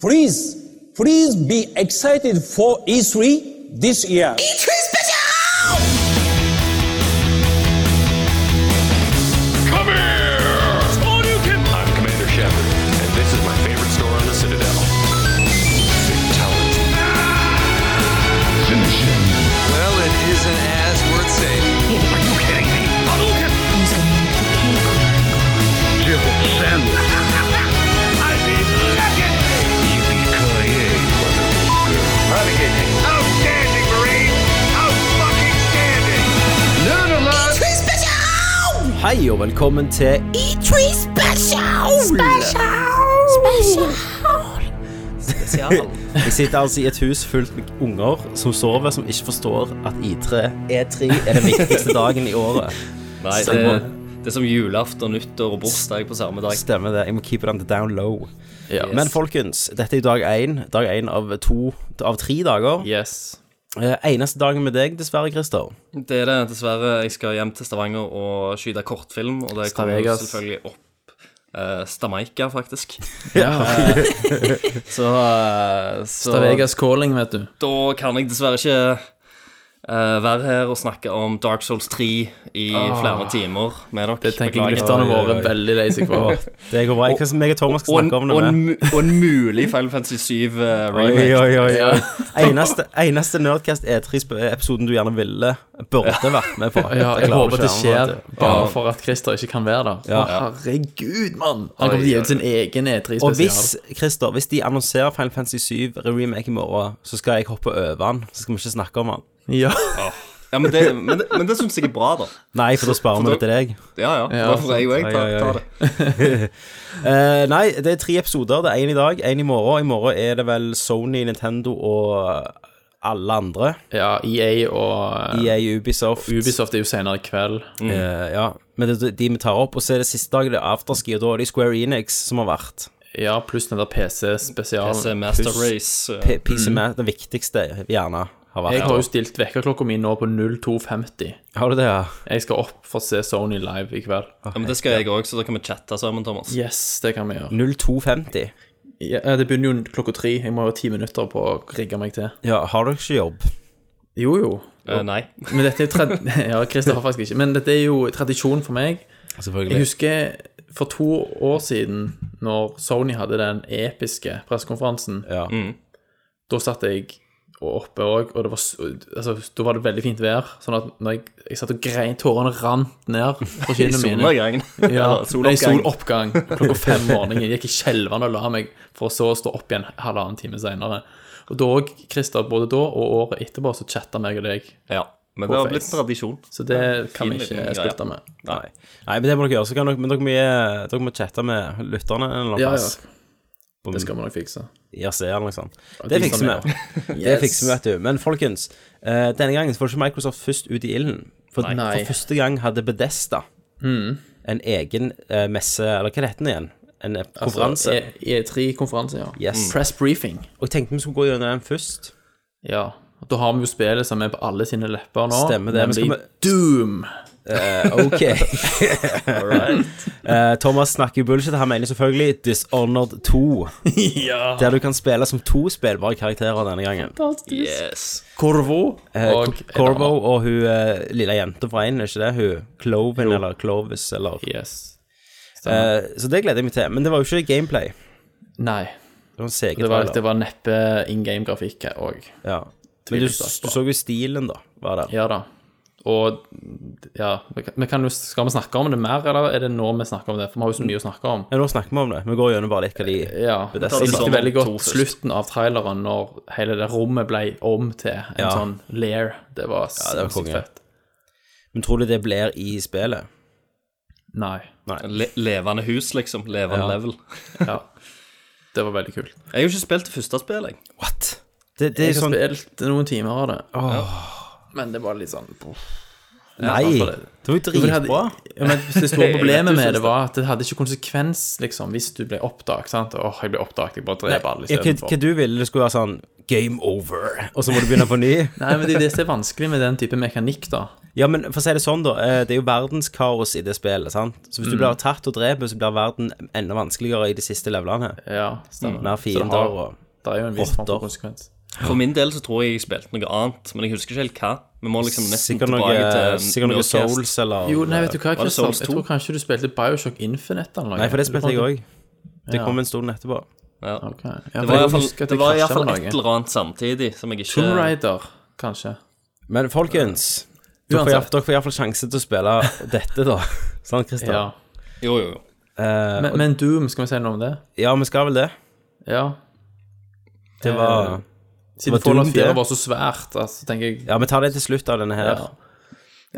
Please, please be excited for E3 this year. E3 spesial! Come here! I'm Commander Shepard, and this is my favorite store on the Citadel. Fatality. Well, it isn't as worth saving. Yippee-ki-yay, motherfucker. Outstanding, Marine! Out fucking standing! E3 spesial! Hei og velkommen til E3 spesial! Spesial! Jeg sitter altså i et hus fullt med unger som sover, som ikke forstår at I3 E3 er den viktigste dagen i året. Nei, det, det er som julaften, nyttår og bursdag på samme dag. Stemmer det. Jeg må keep it on the down low. Ja. Men folkens, dette er jo dag én. Dag én av to av tre dager. Yes. Eh, Eneste dagen med deg, dessverre, Christer. Det er det, dessverre. Jeg skal hjem til Stavanger og skyte kortfilm, og det kommer jo Stavegas. selvfølgelig opp. Uh, Stamaika, faktisk. Eh, Ja, Så, eh, så Stavegas calling, vet du. da kan jeg dessverre ikke eh, være her og snakke om Dark Souls 3 i flere timer med dere. Det tenker jeg Beklager. lytterne våre er veldig lei seg for. Det går bra. Jeg kan- meg og Thomas skal Og en, snakke om det og, en, med. mu- og en mulig Final Fantasy 7 eh, remake. Oi, oi, oi. Ja. Eneste, eneste Nerdcast E3-episoden du gjerne ville, burde vært med på. Ja, Dette jeg klarer håper ikke det andre, skjer vet du. bare for at Christer ikke kan være der. Ja. Å, Herregud, mann! Han kommer til å gi ut sin egen E E3-spesial. Og hvis, Christer, hvis de annonserer Final Fantasy 7 remake i morgen, så skal jeg hoppe over den. Så skal vi ikke snakke om den. Ja. Ja, men det, men det, men det syns jeg er bra, da. Nei, for da sparer vi det til deg. Ja, ja. Ja, Derfor er jeg jo jeg. Ta, Oi, oi, oi. ta det. Eh, nei, det er tre episoder. Det er én i dag, én i morgen. I morgen er det vel Sony, Nintendo og alle andre. ja, EA og eh, EA, Ubisoft. Ubisoft er jo senere i kveld. Eh, ja. Men det er de vi tar opp. Og så er det siste dagen det er afterski, og da er det Square Enix som har vært. Ja, pluss den der PC-spesialen. PC Master Race. P- PC Master, det viktigste, gjerne, Mm. har vært. Jeg har jo stilt vekkerklokka mi nå på 02.50. Har du det, ja? Jeg skal opp for å se Sony live i kveld. Ja, men det skal jeg òg, så da kan vi chatte sammen, Thomas. Yes, det kan vi gjøre. 02.50. Ja, eh, det begynner jo klokka tre. Jeg må ha ti minutter på å rigge meg til. Ja, har dere ikke jobb? Jo, jo. Eh, nei. Men dette er trad... Ja, Christer har faktisk ikke. Men dette er jo tradisjon for meg. Jeg Selvfølgelig. husker for to år siden, når Sony hadde den episke pressekonferansen, Ja. Mm. da satt jeg oppe òg, og det var, s- altså, da var det veldig fint vær. Sånn at når jeg, jeg satt og grein, tårene rant ned fra I kinnene mine. solnedgangen. Ja, Eller nei, soloppgang. soloppgang klokka fem om morgenen. Gikk jeg skjelvende og la meg, for så å stå opp igjen halvannen time seinere. Og da òg, Christer, både da og året etterpå, så chatta meg og deg. Ja. Men det har På blitt face. en tradisjon. Så det kan fin vi liten ikke greie. slutte med. Nei. Nei, men det må dere gjøre. Så kan dere, men dere må, gi- dere må chatte med lytterne en eller Ja, annen ja. plass. Det skal vi nok fikse. Ja, seeren, liksom. de Det fikser som vi. Det fikser vi, vet du. Men folkens, eh, denne gangen så var ikke Microsoft først ut i ilden. For, Nei. Mm. for første gang hadde Bedesta en egen eh, messe, eller hva heter den igjen? En eh, Altså, konferanse. E, E3-konferanse, ja. Mm. Yes. Press briefing. Og jeg tenkte vi skulle gå gjennom den først. Ja. Da har vi jo spillet som er på alle sine lepper nå. Stemmer det, men Nemlig skal Doom. Eh, ok. Eh, Thomas snakker jo bullshit. Han mener selvfølgelig Dishonored 2. Ah. ja. Der du kan spille som to spillbare karakterer denne gangen. Yes. Corvo Eh, og Cor- Corvo og hun eh, lille jenta fra Einen, er ikke det? Hun Cloven eller Clovis eller Yes. eh, Så det gleder jeg meg til. Men det var jo ikke gameplay. Nei. Det var en Det var, segertrailer. det var neppe in game-grafikk òg. Ja. Men du, tvilsomt, du så jo stilen, da. Var der. Ja da. Og ja, vi kan- vi kan jo, skal vi snakke om det mer, eller er det nå vi snakker om det? For vi har jo så mye å snakke om. Ja, nå snakker vi om det. Vi går gjennom bare litt hva de Eh, Ja, det er jeg likte sånn veldig to godt først. slutten av traileren når hele det rommet ble om til en Ja. sånn lair. Det det var var sinnssykt konge. fett. Men tror du det blir i spillet? Nei. Le levende hus, liksom. Levende level. Ja. Det var veldig kult. Jeg har jo ikke spilt det første spillet, jeg. What? Det, det Jeg er har sånn spilt noen timer av det. Men det var litt sånn Nei, for det det. var jo For det hadde- dritbra. Ja, men det store Jeg vet problemet du med syns det var at det hadde ikke konsekvens, liksom, hvis du ble oppdaget. sant? Åh, jeg ble oppdaget, jeg bare dreper alle Ja, Hva hva istedenfor. du ville, det skulle være sånn Game over, og så må du begynne på ny. Nei, men det, det er vanskelig med den type mekanikk, da. Ja, men for å si det sånn, da. eh, Det er jo verdenskaos i det spillet, sant. Så Mm. hvis du blir tatt og dreper, så blir verden enda vanskeligere i de siste levelene. Ja, stemmer. Mm. Mer Så det, fiender og har, det er jo en viss form rotter. for konsekvens. For min del så tror jeg jeg spilte noe annet, men jeg husker ikke helt hva. Vi må liksom nesten Sikkert noe, tilbake til sikkert noe Nerdcast. Souls eller Jo, nei, vet du hva, Var det Christer? Souls Jeg 2? tror kanskje du spilte Bioshock Infinite eller noe. Nei, for det Du spilte jeg kom- òg. Det Ja. kom en stund etterpå. Ja. Ok. Ja, Det for var jeg iallfall, husker det at jeg var i krasjet hvert fall med et noe. eller annet samtidig som jeg ikke Tomb Raider, kanskje. Men folkens, dere får i- Uansett. dere får iallfall sjanse til å spille dette, da. Sant, Christer? Ja. Jo, jo, jo. Eh, Men, men Doom, skal vi si noe om det? ja, vi skal vel det. Ja. Det var Siden Var Fallout Doom 4 det? var så svært, altså, tenker jeg Ja, vi tar det til slutt av denne her. Ja.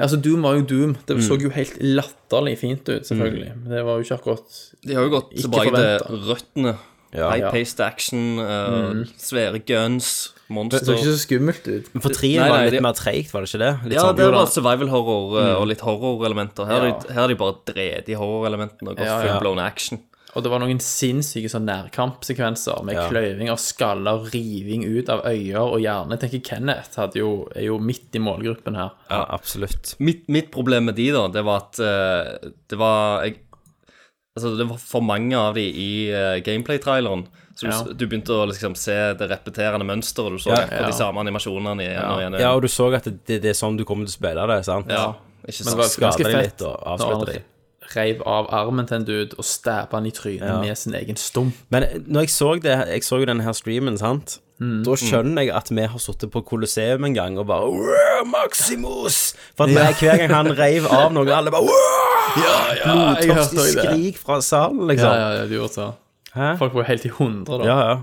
Altså, Doom var jo Doom. Det Mm. så jo helt latterlig fint ut, selvfølgelig. Men det var jo ikke akkurat De har jo gått Ikke tilbake til forventet. Mm. røttene. High-paced action, eh, svære guns, monster så skummelt ut. Men For trien Nei, var nei, litt det- mer treigt, var det ikke det? Litt Ja, sånn, det Jo da. var survival horror eh, og litt horrorelementer. Her, har Mm. Ja. de- her har de bare drevet i horrorelementene og gått Ja, ja. full blown action. Og det var noen sinnssyke sånn nærkampsekvenser med Ja. kløyving av skaller, riving ut av øyer og hjerne. Jeg tenker Kenneth hadde jo, er jo midt i målgruppen her. Ja, absolutt. Mitt, mitt problem med de, da, det var at eh, det var jeg, Altså, det var for mange av de i eh, gameplay-traileren. Så du, Ja. du begynte å liksom se det repeterende mønsteret du så Ja, på ja. de samme animasjonene igjen og igjen. og Ja, igjen. og du så at det, det er sånn du kommer til å spille det, sant? Ja, ikke Men sant. det var skader ganske de litt fett og når avslutter han de. reiv av armen til en dude og stabba han i trynet med sin egen stump. Men eh, når jeg så det, jeg så jo denne her streamen, sant? Da skjønner jeg at vi har sittet på Colosseum en gang og bare «Wow, Maximus! For at vi- hver gang han reiv av noe, alle bare «Wow!» Blodtørstig skrik fra salen, Ja, liksom. ja, ja, du gjorde så. Hæ? Folk var jo helt i hundre, da. Ja, ja.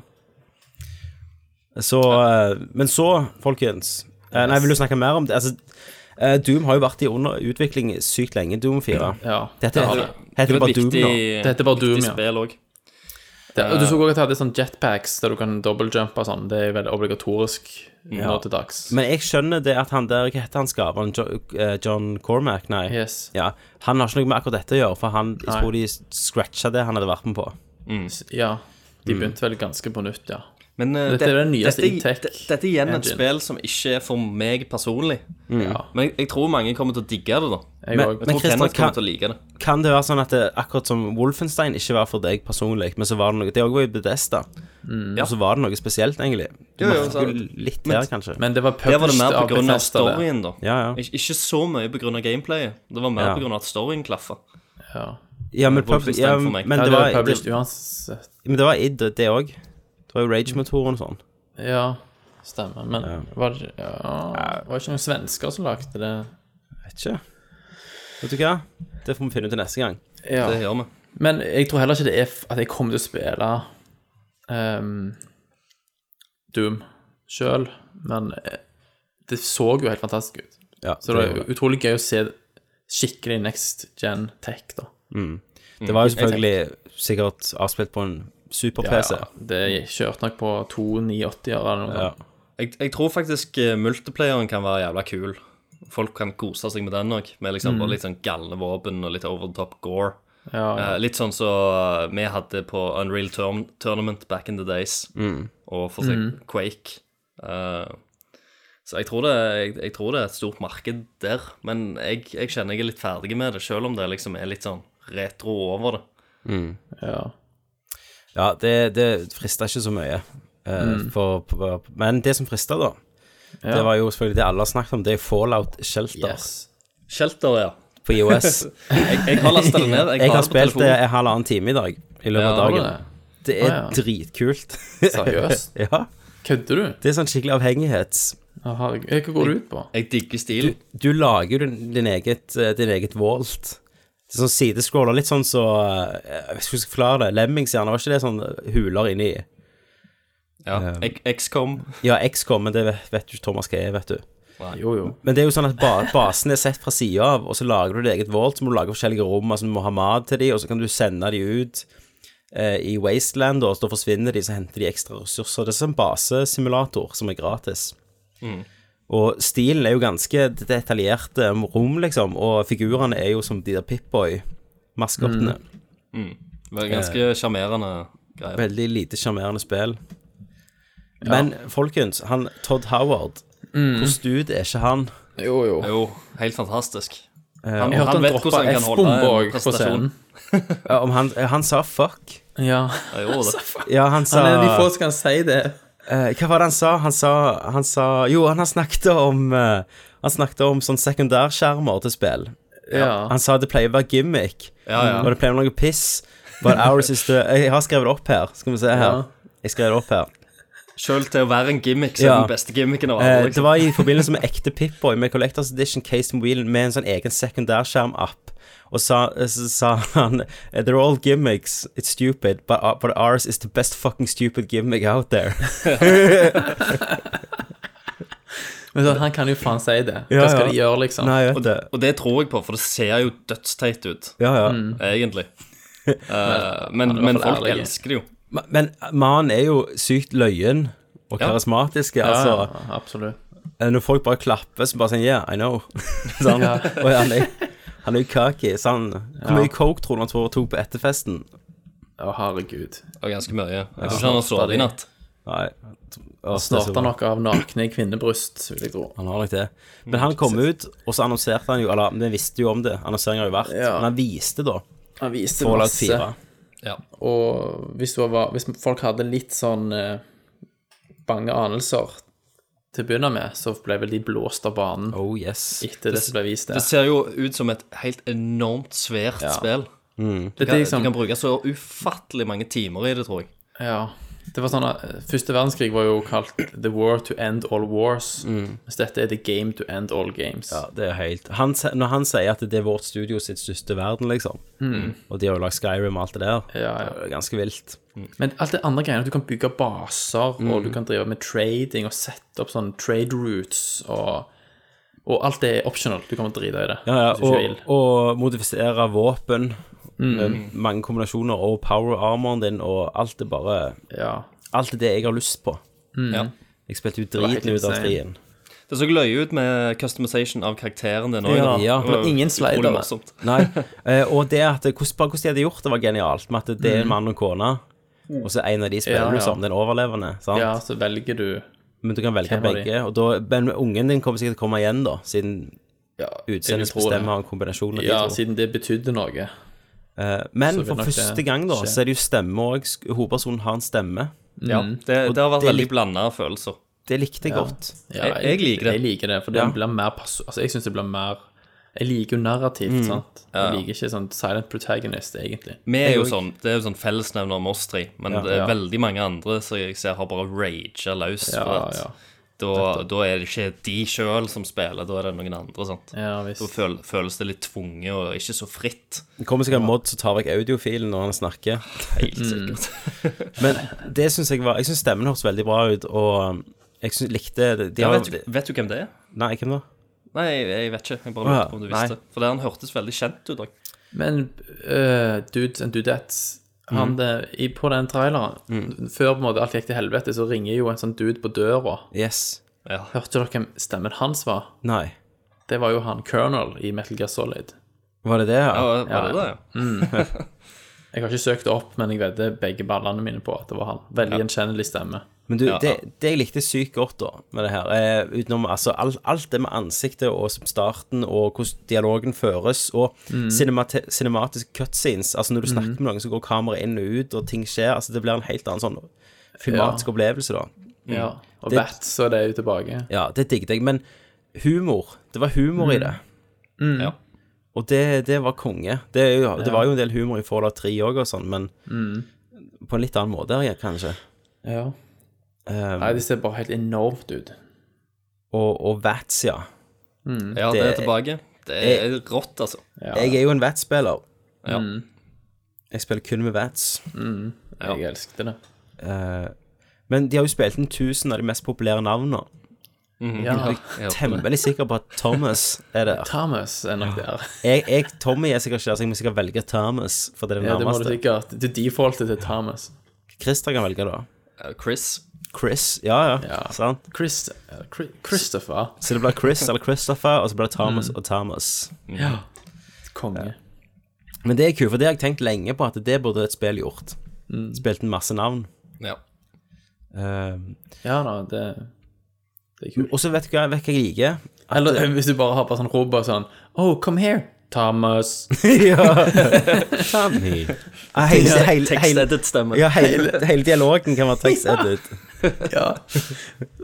Så eh, Men så, folkens eh, Nei, vil du snakke mer om det? Altså, eh, Doom har jo vært i under utvikling sykt lenge, Doom 4. Ja. Dette Ja, heter, heter det det var bare et Doom viktig, nå. Det heter bare Doom, viktig ja. spill òg. Det, og du så også at jeg hadde sånn jetpacks der du kan dobbeltjumpe og sånn. Det er veldig obligatorisk nå til dags. Men jeg skjønner det at han der, hva heter han skaperen, Jo- eh, John Cormack, nei. Yes. Ja, han har ikke noe med akkurat dette å gjøre, for han, jeg Nei. tror de scratcha det han hadde vært med på. Ja. De begynte vel ganske på nytt, ja. Men eh, Dette det- er den nyeste dette- i tech det- Dette er igjen et engine. spill som ikke er for meg personlig. Ja. Men jeg, jeg tror mange kommer til å digge det, da. Mm. Jeg Men- òg. Jeg tror Christian, Kenneth kommer kan- til å like det. Kan det være sånn at det, akkurat som Wolfenstein ikke var for deg personlig, men så var det noe Det også var jo Bedesta, Mm. og så var det noe spesielt, egentlig. Du Jo, jo, merker sant. jo litt her, kanskje. Men det var Der var det mer published av på grunn av Bethesda, det. storyen, da. Ja, ja. Ik ikke så mye på grunn av gameplayet. Det var mer Ja. på grunn av at storyen klaffa. Ja. ja, men, pub, Wolfenstein ja, for meg. men ja, det det var var, published det, uansett. men det var id, det òg. Det var jo Rage-motoren og sånn. Ja, stemmer. Men var det ja, var det ikke noen svensker som lagde det? Vet ikke. Vet du hva? Det får vi finne ut til neste gang. Ja. Det gjør vi. Men jeg tror heller ikke det er f- at jeg kommer til å spille ehm, Doom sjøl, men eh, det så jo helt fantastisk ut. Ja, Så det er utrolig gøy å se skikkelig next gen tech, da. Det var jo selvfølgelig sikkert avspilt på en super-PC. Ja, det kjørte nok på 2,980 eller noe Ja. sånt. Jeg, jeg tror faktisk eh, multiplayeren kan være jævla kul. Folk kan kose seg med den òg, med Mm. liksom bare litt sånn galne våpen og litt over the top gore. Ja, ja. Eh, litt sånn som eh, vi hadde på Unreal Tourn Tournament back in the days, Mm. og for seg Mm. Quake. Eh, så jeg tror, det, jeg, jeg tror det er et stort marked der, men jeg, jeg kjenner jeg er litt ferdig med det, selv om det liksom er litt sånn retro over det. ja. Ja, det, det frista ikke så mye. eh, For, på- på- men det som frista, da, det var jo selvfølgelig det alle har snakket om, det er Fallout Shelter Yes. Shelter, ja. på IOS. Jeg, jeg har lasta det ned. Jeg, Jeg har det på spilt telefonen. det en halvannen time i dag. I løpet av Ja, har du dagen. Det er Ah, ja. dritkult. Seriøst? ja. Kødder du? Det er sånn skikkelig avhengighets... Ja, herregud. Hva går det ut på? Jeg digger stilen. Du lager jo din, din, eget, eh, din eget vault. Det er Sånn sidescroller, litt sånn så eh, Jeg vet ikke hvordan jeg skal forklare det. Lemmings, gjerne. Var ikke det sånn huler inni Ja. Eh. Jeg- XCOM. Ja, XCOM, men det vet, vet du ikke Thomas hva er, vet du. Jo, jo. Men det er jo sånn at ba basen er sett fra sida av, og så lager du ditt eget vault, så må du lage forskjellige rom, altså du må ha mat til de, og så kan du sende de ut eh, i Wasteland, og så da forsvinner de, så henter de ekstra ressurser. Det er sånn basesimulator som er gratis. Og stilen er jo ganske detaljert eh, rom, liksom, og figurene er jo som de der Pip-Boy-maskottene. Det er ganske Eh. sjarmerende greier. Veldig lite sjarmerende spill. Men folkens, han Todd Howard, hvor stud er ikke han? Jo, jo. Jo, helt fantastisk. Han, Eh, Jeg hørte han han vet droppa hvordan han kan holde F-bombe en òg på prestasjon. scenen. Ja, Om han, eh, han sa fuck. Ja. Ja, Jo, det, Ja, han sa Han er de få som kan si det. eh, Hva var det han sa? Han sa, han sa Jo, han har snakket om eh, Han snakket om sånn sekundærskjermer til spill. Ja. Han sa det pleier å være gimmick, Ja, ja. og det pleier å være noe piss. But ours is the Jeg har skrevet det opp her. Skal vi se her. Ja. Jeg skrev det opp her. selv til å være en gimmick, så er Ja. den beste gimmicken av Eh, alle. det Liksom. var i forbindelse med ekte Pip-Boy med Collectors Edition Case Mobilen med en sånn egen sekundærskjerm-app. Og sa, eh, så sa han eh, They're all gimmicks, it's stupid, but, uh, but ours is the best fucking stupid gimmick out there. Men så, han kan jo faen si det. Ja, Hva skal ja. de gjøre, liksom? Nei, jeg Og, vet det. og det tror jeg på, for det ser jo dødsteit ut, Ja, ja. Mm. egentlig. Eh, men, i hvert men fall folk ærlig. elsker det jo. Ma- Men mannen er jo sykt løyen og Ja. karismatisk. Ja, Altså, ja, absolutt. Eh, Når folk bare klapper, så bare sånn Yeah, I know. sånn. Og han er, han er jo kaki. Så han, Hvor mye coke tror du han tror tok på etterfesten? Å, herregud. Og ganske mye. Jeg tror ikke han har sovet i natt. Nei. Å, det er så Starta nok av nakne kvinnebryst, vil jeg tro. Han har nok det. Men han kom Mm. ut, og så annonserte han jo Eller vi visste jo om det, annonseringen har jo vært, Ja. men han viste da Han viste Fallout masse. 4. Ja. Og hvis, du var, hvis folk hadde litt sånn eh, bange anelser til å begynne med, så ble vel de blåst av banen Oh yes. etter det som ble vist Det der. ser jo ut som et helt enormt svært spill. Mm. Det, Du er kan, liksom, du kan bruke så ufattelig mange timer i det, tror jeg. ja, det var sånn at Første verdenskrig var jo kalt The War to End All Wars. Mens dette er The Game to End All Games. Ja, det er helt han, se- Når han sier at det er vårt studio sitt største verden, liksom, og de har jo lagd Skyrim og alt det der, Mm. Ja, ja. det er ganske vilt. Men alt det andre greiene, at du kan bygge baser, og du kan drive med trading og sette opp sånne trade routes og Og alt det er optional. Du kan drite i det. Ja, ja, hvis du ikke vil. Eh, Mm. og, og modifisere våpen. Med mange kombinasjoner og power armoren din og alt det bare ja. Alt er det jeg har lyst på. Ja. Jeg spilte jo Mm. var helt driten ut av insane. strien. Det så løye ut med customization av karakteren din. også, Ja. da. Ja. Det var Men ingen utrolig slidere. morsomt. Nei. eh, Og det at hvordan, bare hvordan de hadde gjort det, var genialt. Med at det er en mann og kone, og så en av de spiller Mm. Ja, du ja. som den overlevende. Sant? ja, så velger du Men du kan velge Hvem av de? begge. Og da, men ungen din kommer sikkert til å komme igjen, da, siden ja, utseendet jeg tror det. bestemmer en kombinasjon av de to. Ja, siden det betydde noe. Eh, Men vil for nok det første gang, da, skje. så er det jo stemme òg. Hovedpersonen har en stemme. Ja. Det, det har vært det er veldig litt- blanda følelser. Det likte jeg godt. Ja, Jeg- jeg liker det. Jeg liker det, for det Ja. blir mer pass... Altså, jeg syns det blir mer Jeg liker jo narrativt, sant. Jeg liker ikke sånn silent protagonist, egentlig. Vi er jo sånn, det er jo sånn fellesnevner om oss tre, men det er ja. veldig mange andre som jeg ser har bare raga løs. Ja, for at ja. Da, da er det ikke de sjøl som spiller, da er det noen andre. sant? Ja visst. Da føl, føles det litt tvunget og ikke så fritt. Det kommer sikkert en mod som tar vekk audiofilen når han snakker. Helt sikkert. Men det syns jeg var Jeg syns stemmen hørtes veldig bra ut, og um, jeg syns likte de, Ja, har, vet, du, vet du hvem det er? Nei, hvem da? Nei, jeg, jeg vet ikke. Jeg bare Å, ja. lurte på om du visste. Nei. For det han hørtes veldig kjent ut. da. Men uh, dudes and dudettes han, eh, i, På den traileren, før på en måte alt gikk til helvete, så ringer jo en sånn dude på døra. Yes. Hørte dere hvem stemmen hans var? Nei. Det var jo han Colonel i Metal Gear Solid. Var det det? Ja. Ja, var det det? Jeg har ikke søkt det opp, men jeg vedder begge ballene mine på at det var han. Veldig gjenkjennelig stemme. Men du, Ja, det, det jeg likte sykt godt da med det her, eh, utenom altså, alt, alt det med ansiktet og som starten og hvordan dialogen føres, og Mm. cinemate- cinematiske cutscenes Altså når du snakker med noen, så går kameraet inn og ut, og ting skjer. Altså Det blir en helt annen sånn filmatisk opplevelse, da. Ja. Og Det- Bat, så det er jo tilbake. Ja, det digget jeg. Men humor. Det var humor Mm. i det. Ja. Og det, det var konge. Det, er jo, det var jo en del humor i Fallout 3 òg og sånn, men Mm. på en litt annen måte, her, kanskje. Ja. Eh, Um. Nei, det ser bare helt enormt ut. og, og Vats, ja. Ja, Mm. det er Det- tilbake. Det er rått, altså. Ja, Jeg er jo en Vats-spiller. Ja. Jeg spiller kun med Vats. jeg elsket det. Men de har jo spilt inn 1000 av de mest populære navnene. Ja. Ja. Temmelig sikker på at Thomas er der. Thomas er nok der. Jeg, jeg, Tommy er sikkert ikke der, så jeg må sikkert velge Thomas. For det er det Ja, det må du nærmeste. sikkert. Du defaultet til Thomas. Christer kan velge, da. Eh, Chris. Chris. Ja, ja. Ja. Sant? Chris, eh, Chri- Christopher. Så det blir Chris eller Christopher, og så blir det Thomas Mm. og Thomas. Konge. Men det er kult, for det har jeg tenkt lenge på at det burde et spill gjort. Mm. Spilt en masse navn. Ja. Eh, Ja da, det, det er kult. og så vet du hva, vet du hva jeg liker? Eller eh, hvis du bare har bare sånn rop bare sånn Oh, come here, Thomas. ja. Tommy. Ja, hele, hele, hele, Tekstedit-stemme. ja, hele, hele dialogen kan være tekstedit. ja.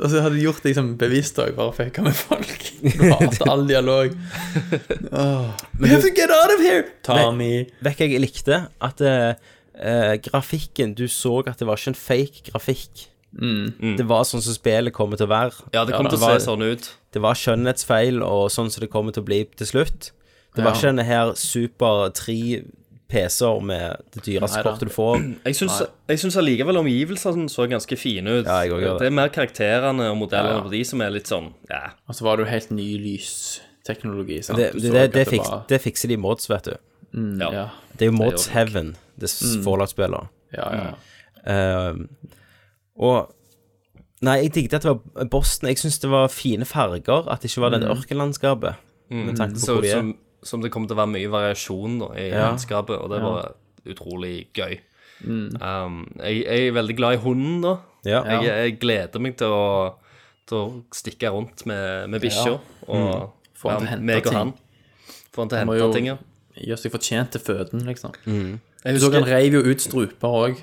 Og så hadde du gjort det liksom bevisst òg, bare fucka med folk. Du hater all dialog. Åh. We have to get out of here, Tommy. Vet du hva jeg likte? At eh, eh, grafikken Du så at det var ikke en fake grafikk. Det var sånn som spillet kommer til å være. Mm. Ja, det kommer til å var, se sånn ut. Det var skjønnhetsfeil og sånn som det kommer til å bli til slutt. Det var Ja. ikke denne her super tre PC-er med det dyreste Neida. kortet du får. Jeg syns, jeg syns allikevel omgivelsene så ganske fine ut. Ja, jeg også gjør det. det er mer karakterene og modellene Ja. på de som er litt sånn ja. Og så var det jo helt ny lysteknologi. sant? Det, Du det, så det, at det, var- fiks, det fikser de i mods, vet du. ja. Mm, Ja, Det er jo mods gjør heaven, det mm. Fallout-spillet. ja, ja. Ehm, og Nei, jeg digget at det var Boston. Jeg syns det var fine farger, at det ikke var det Mm. ørkenlandskapet. Med tanke på Så hvor ut de er. som, som det kommer til å være mye variasjon da, i landskapet, og det var utrolig gøy. Mm. Um, jeg, jeg er veldig glad i hunden, da. Ja. Jeg, jeg gleder meg til å, til å stikke rundt med, med bikkja. Og Mm. Få han til å ja, hente meg ting. og han. Få han til å må hente jo- ting, ja. Gjør seg fortjent til føden, liksom. Jeg Du så han husker, reiv jo ut struper òg.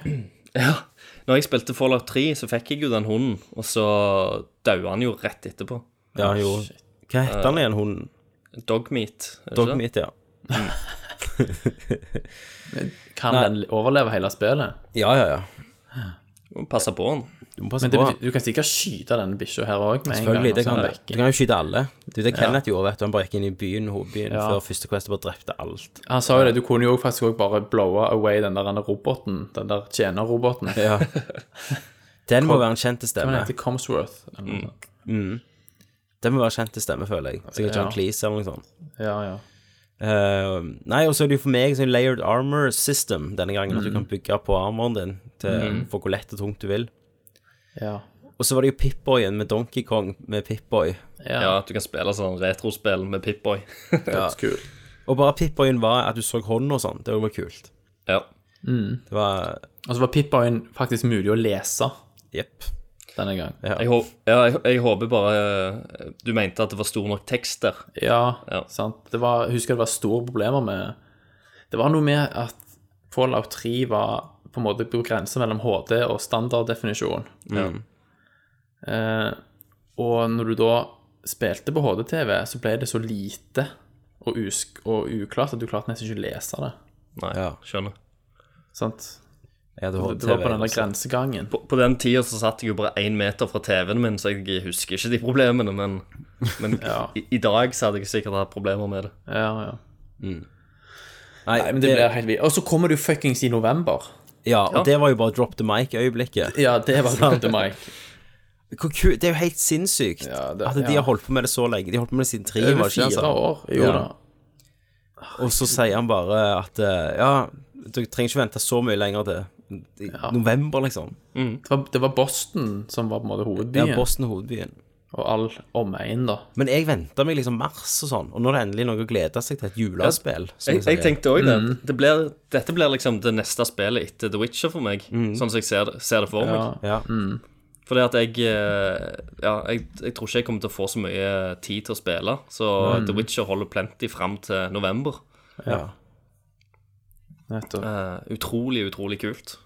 når jeg spilte Fallout 3, så fikk jeg jo den hunden, og så daua han jo rett etterpå. Ja, jo. Hva heter han igjen, hunden? Dogmeat. er det ikke det? Dogmeat, ja. Kan den overleve hele spillet? Ja, ja, ja. Du må passe på han. Du må passe Men det på. betyr, du kan sikkert skyte denne bikkja her òg med en gang. Selvfølgelig. og Det så er kan, den du vekke. kan jo skyte alle. Du, det Kenneth gjorde, vet du. Han bare gikk inn i byen, hovedbyen, Ja. før første quest og bare drepte alt. Han sa jo det, du kunne jo faktisk også bare blowa away den der denne roboten, den der tjenerroboten. Ja. Den må være en kjent Han stemme. heter Comsworth. eller noe sånt. Den må være en kjent stemme, føler jeg. Sikkert John Ja. Cleese eller noe sånt. Ja, ja. Eh, nei, og så er det jo for meg sånn layered armor system denne gangen, at du Mhm. kan bygge på armoren din til, for hvor lett og tungt du vil. ja. Og så var det jo Pip-Boy igjen med Donkey Kong med Pip-Boy. Ja. Ja, at du kan spille sånn retrospill med Pip-Boy. Kul. Og bare Pip-Boyen var at du så hånden og sånn. Det var kult. ja. Det var Og så var Pip-Boyen faktisk mulig å lese Jepp. denne gang. Jeg, hå- ja, jeg, jeg håper bare eh, Du mente at det var stor nok tekst der. Ja, Ja. sant. Det var, jeg husker det var store problemer med Det var noe med at Fallout 3 var på en måte på grensa mellom HD og standarddefinisjon. Eh, og når du da spilte på HD-TV, så ble det så lite og, usk og uklart at du klarte nesten ikke å lese det. Nei, Ja. skjønner. Sant? Jeg hadde Det var på den der også. grensegangen. På, på den tida så satt jeg jo bare én meter fra TV-en min, så jeg husker ikke de problemene, men, men Ja. i, i dag så hadde jeg sikkert hatt problemer med det. Ja, ja. Nei, Nei, men det, det ble helt vilt. Og så kommer du fuckings i november. ja, og det var jo bare drop the mic-øyeblikket. Ja, det var sant, Mike. Hvor ku- Det er jo helt sinnssykt Ja, det- at de ja. har holdt på med det så lenge. De har holdt på med det siden tre, var Over det ikke det? han sa? fire år. Jo Ja. da. Og så sier han bare at eh, ja, dere trenger ikke vente så mye lenger til i november, liksom. Det var, det var Boston som var på en måte Ja, hovedbyen, Boston er hovedbyen. og all omegn, da. Men jeg venta meg liksom mars og sånn, og nå er det endelig noe å glede seg til, et julespill. som Jeg, jeg sier. tenkte òg det. det blir, dette blir liksom det neste spillet etter The Witcher for meg, sånn som jeg ser det, ser det for meg. ja. Mm, Fordi at jeg eh, Ja, jeg, jeg tror ikke jeg kommer til å få så mye tid til å spille. Så The Witcher holder plenty fram til november. Nettopp. Eh, utrolig, utrolig kult.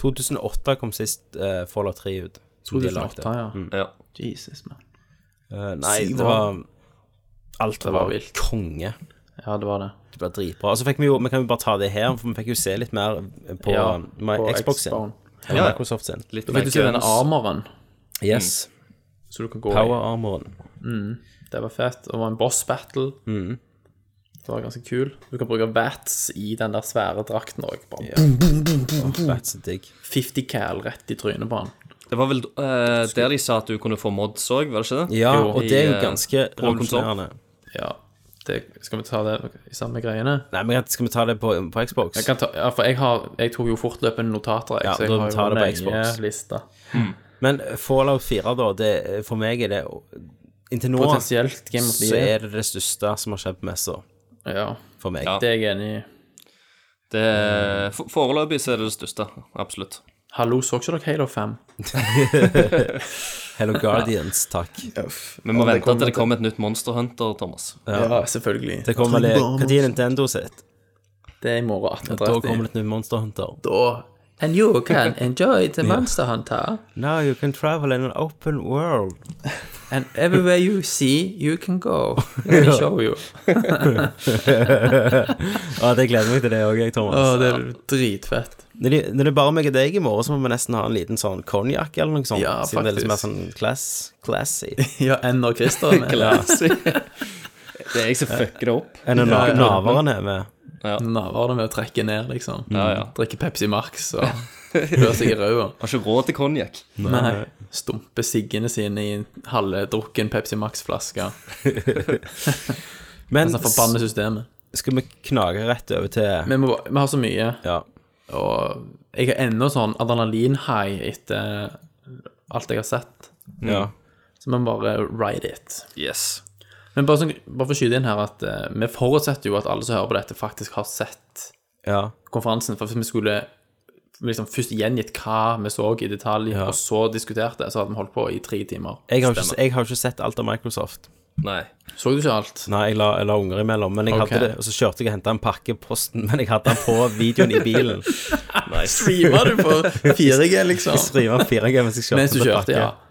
2008 kom sist eh, Fallout 3 ut. som de lagde. 2008, ja. Ja. Jesus, man. Eh, nei, Syv det var Alt var var vilt. konge. Ja, det var det. Det ble dritbra. Og så fikk vi jo Vi kan jo bare ta det her, for vi fikk jo se litt mer på, um, Ja, my, på Xbox sin. Xbox. Eller Ja. Microsoft sin. Litt Da fikk du se denne armoren, Yes. så du kan gå i. Power-armoren. Det var fett. Og det var en boss battle. Mm. Det var ganske kul. Du kan bruke bats i den der svære drakten òg. That's digg. 50 cal rett i trynet på han. Det var vel eh, der de sa at du kunne få mods òg, var det ikke det? Ja, Jo, og det er jo i, eh, ganske på konsol. revolusjonerende. Ja. Det, skal vi ta det i samme greiene? Nei, men skal vi ta det på, på Xbox? Jeg kan ta, ja, for jeg, har, jeg tok jo fortløpende notater. Jeg, Ja, så jeg da har tar jo det på lenge Xbox. lista. Men Fallout 4, da, det, for meg er det Inntil nå Potensielt Game of the så Year. er det det største som har skjedd på messa, Ja, for meg. Ja. det er jeg enig i. Det, eh, for, foreløpig så er det det største. Absolutt. Hallo, så ikke dere Halo 5? Hello Guardians, takk. Vi må vente til det kommer et nytt Monster Hunter, Thomas. Ja, selvfølgelig. Det kommer vel Når er Nintendo sitt? Det er i morgen Da kommer 18.30. det et nytt Monster Hunter. Da- And you can enjoy the Monster Hunter. Now you can travel in an open world. And everywhere you see, you can go. Let me show you. Ja, det gleder meg til det òg, Thomas. Å, det er dritfett. Når det, når det er bare meg og deg i morgen, så må vi nesten ha en liten sånn konjakk eller noe sånt. Ja, siden det er litt mer faktisk. sånn class, classy. Ja, enn når Christer er med. Det er jeg som fucker det opp. Enn når ja, naveren er med. Navar det med å trekke ned, liksom. Ja, ja. Drikke Pepsi Max og røre seg i ræva. Har ikke råd til konjakk. Nei. Stumpe siggene sine i en halvdrukken Pepsi Max-flaske. Men Sånn forbanne systemet. skal vi knage rett over til Vi, må, bare- vi har så mye, Ja. og jeg er ennå sånn adrenalin-high etter alt jeg har sett. ja. Så vi må bare ride it. Mm. Yes. Men bare, sånn, bare for å skyte inn her at eh, vi forutsetter jo at alle som hører på dette, faktisk har sett ja. konferansen. For hvis vi skulle liksom først gjengitt hva vi så i detalj, og så diskutert det, så hadde vi holdt på i tre timer. Jeg har, ikke, jeg har ikke sett alt av Microsoft. Nei. Så du ikke alt? Nei, jeg la, jeg la unger imellom, men jeg Ok. hadde det, og så kjørte jeg og henta en pakke i posten, men jeg hadde den på videoen i bilen. Nice. Streamer du på 4G, liksom? Streama 4G mens jeg kjørte. Mens du til kjørte, pakke. ja.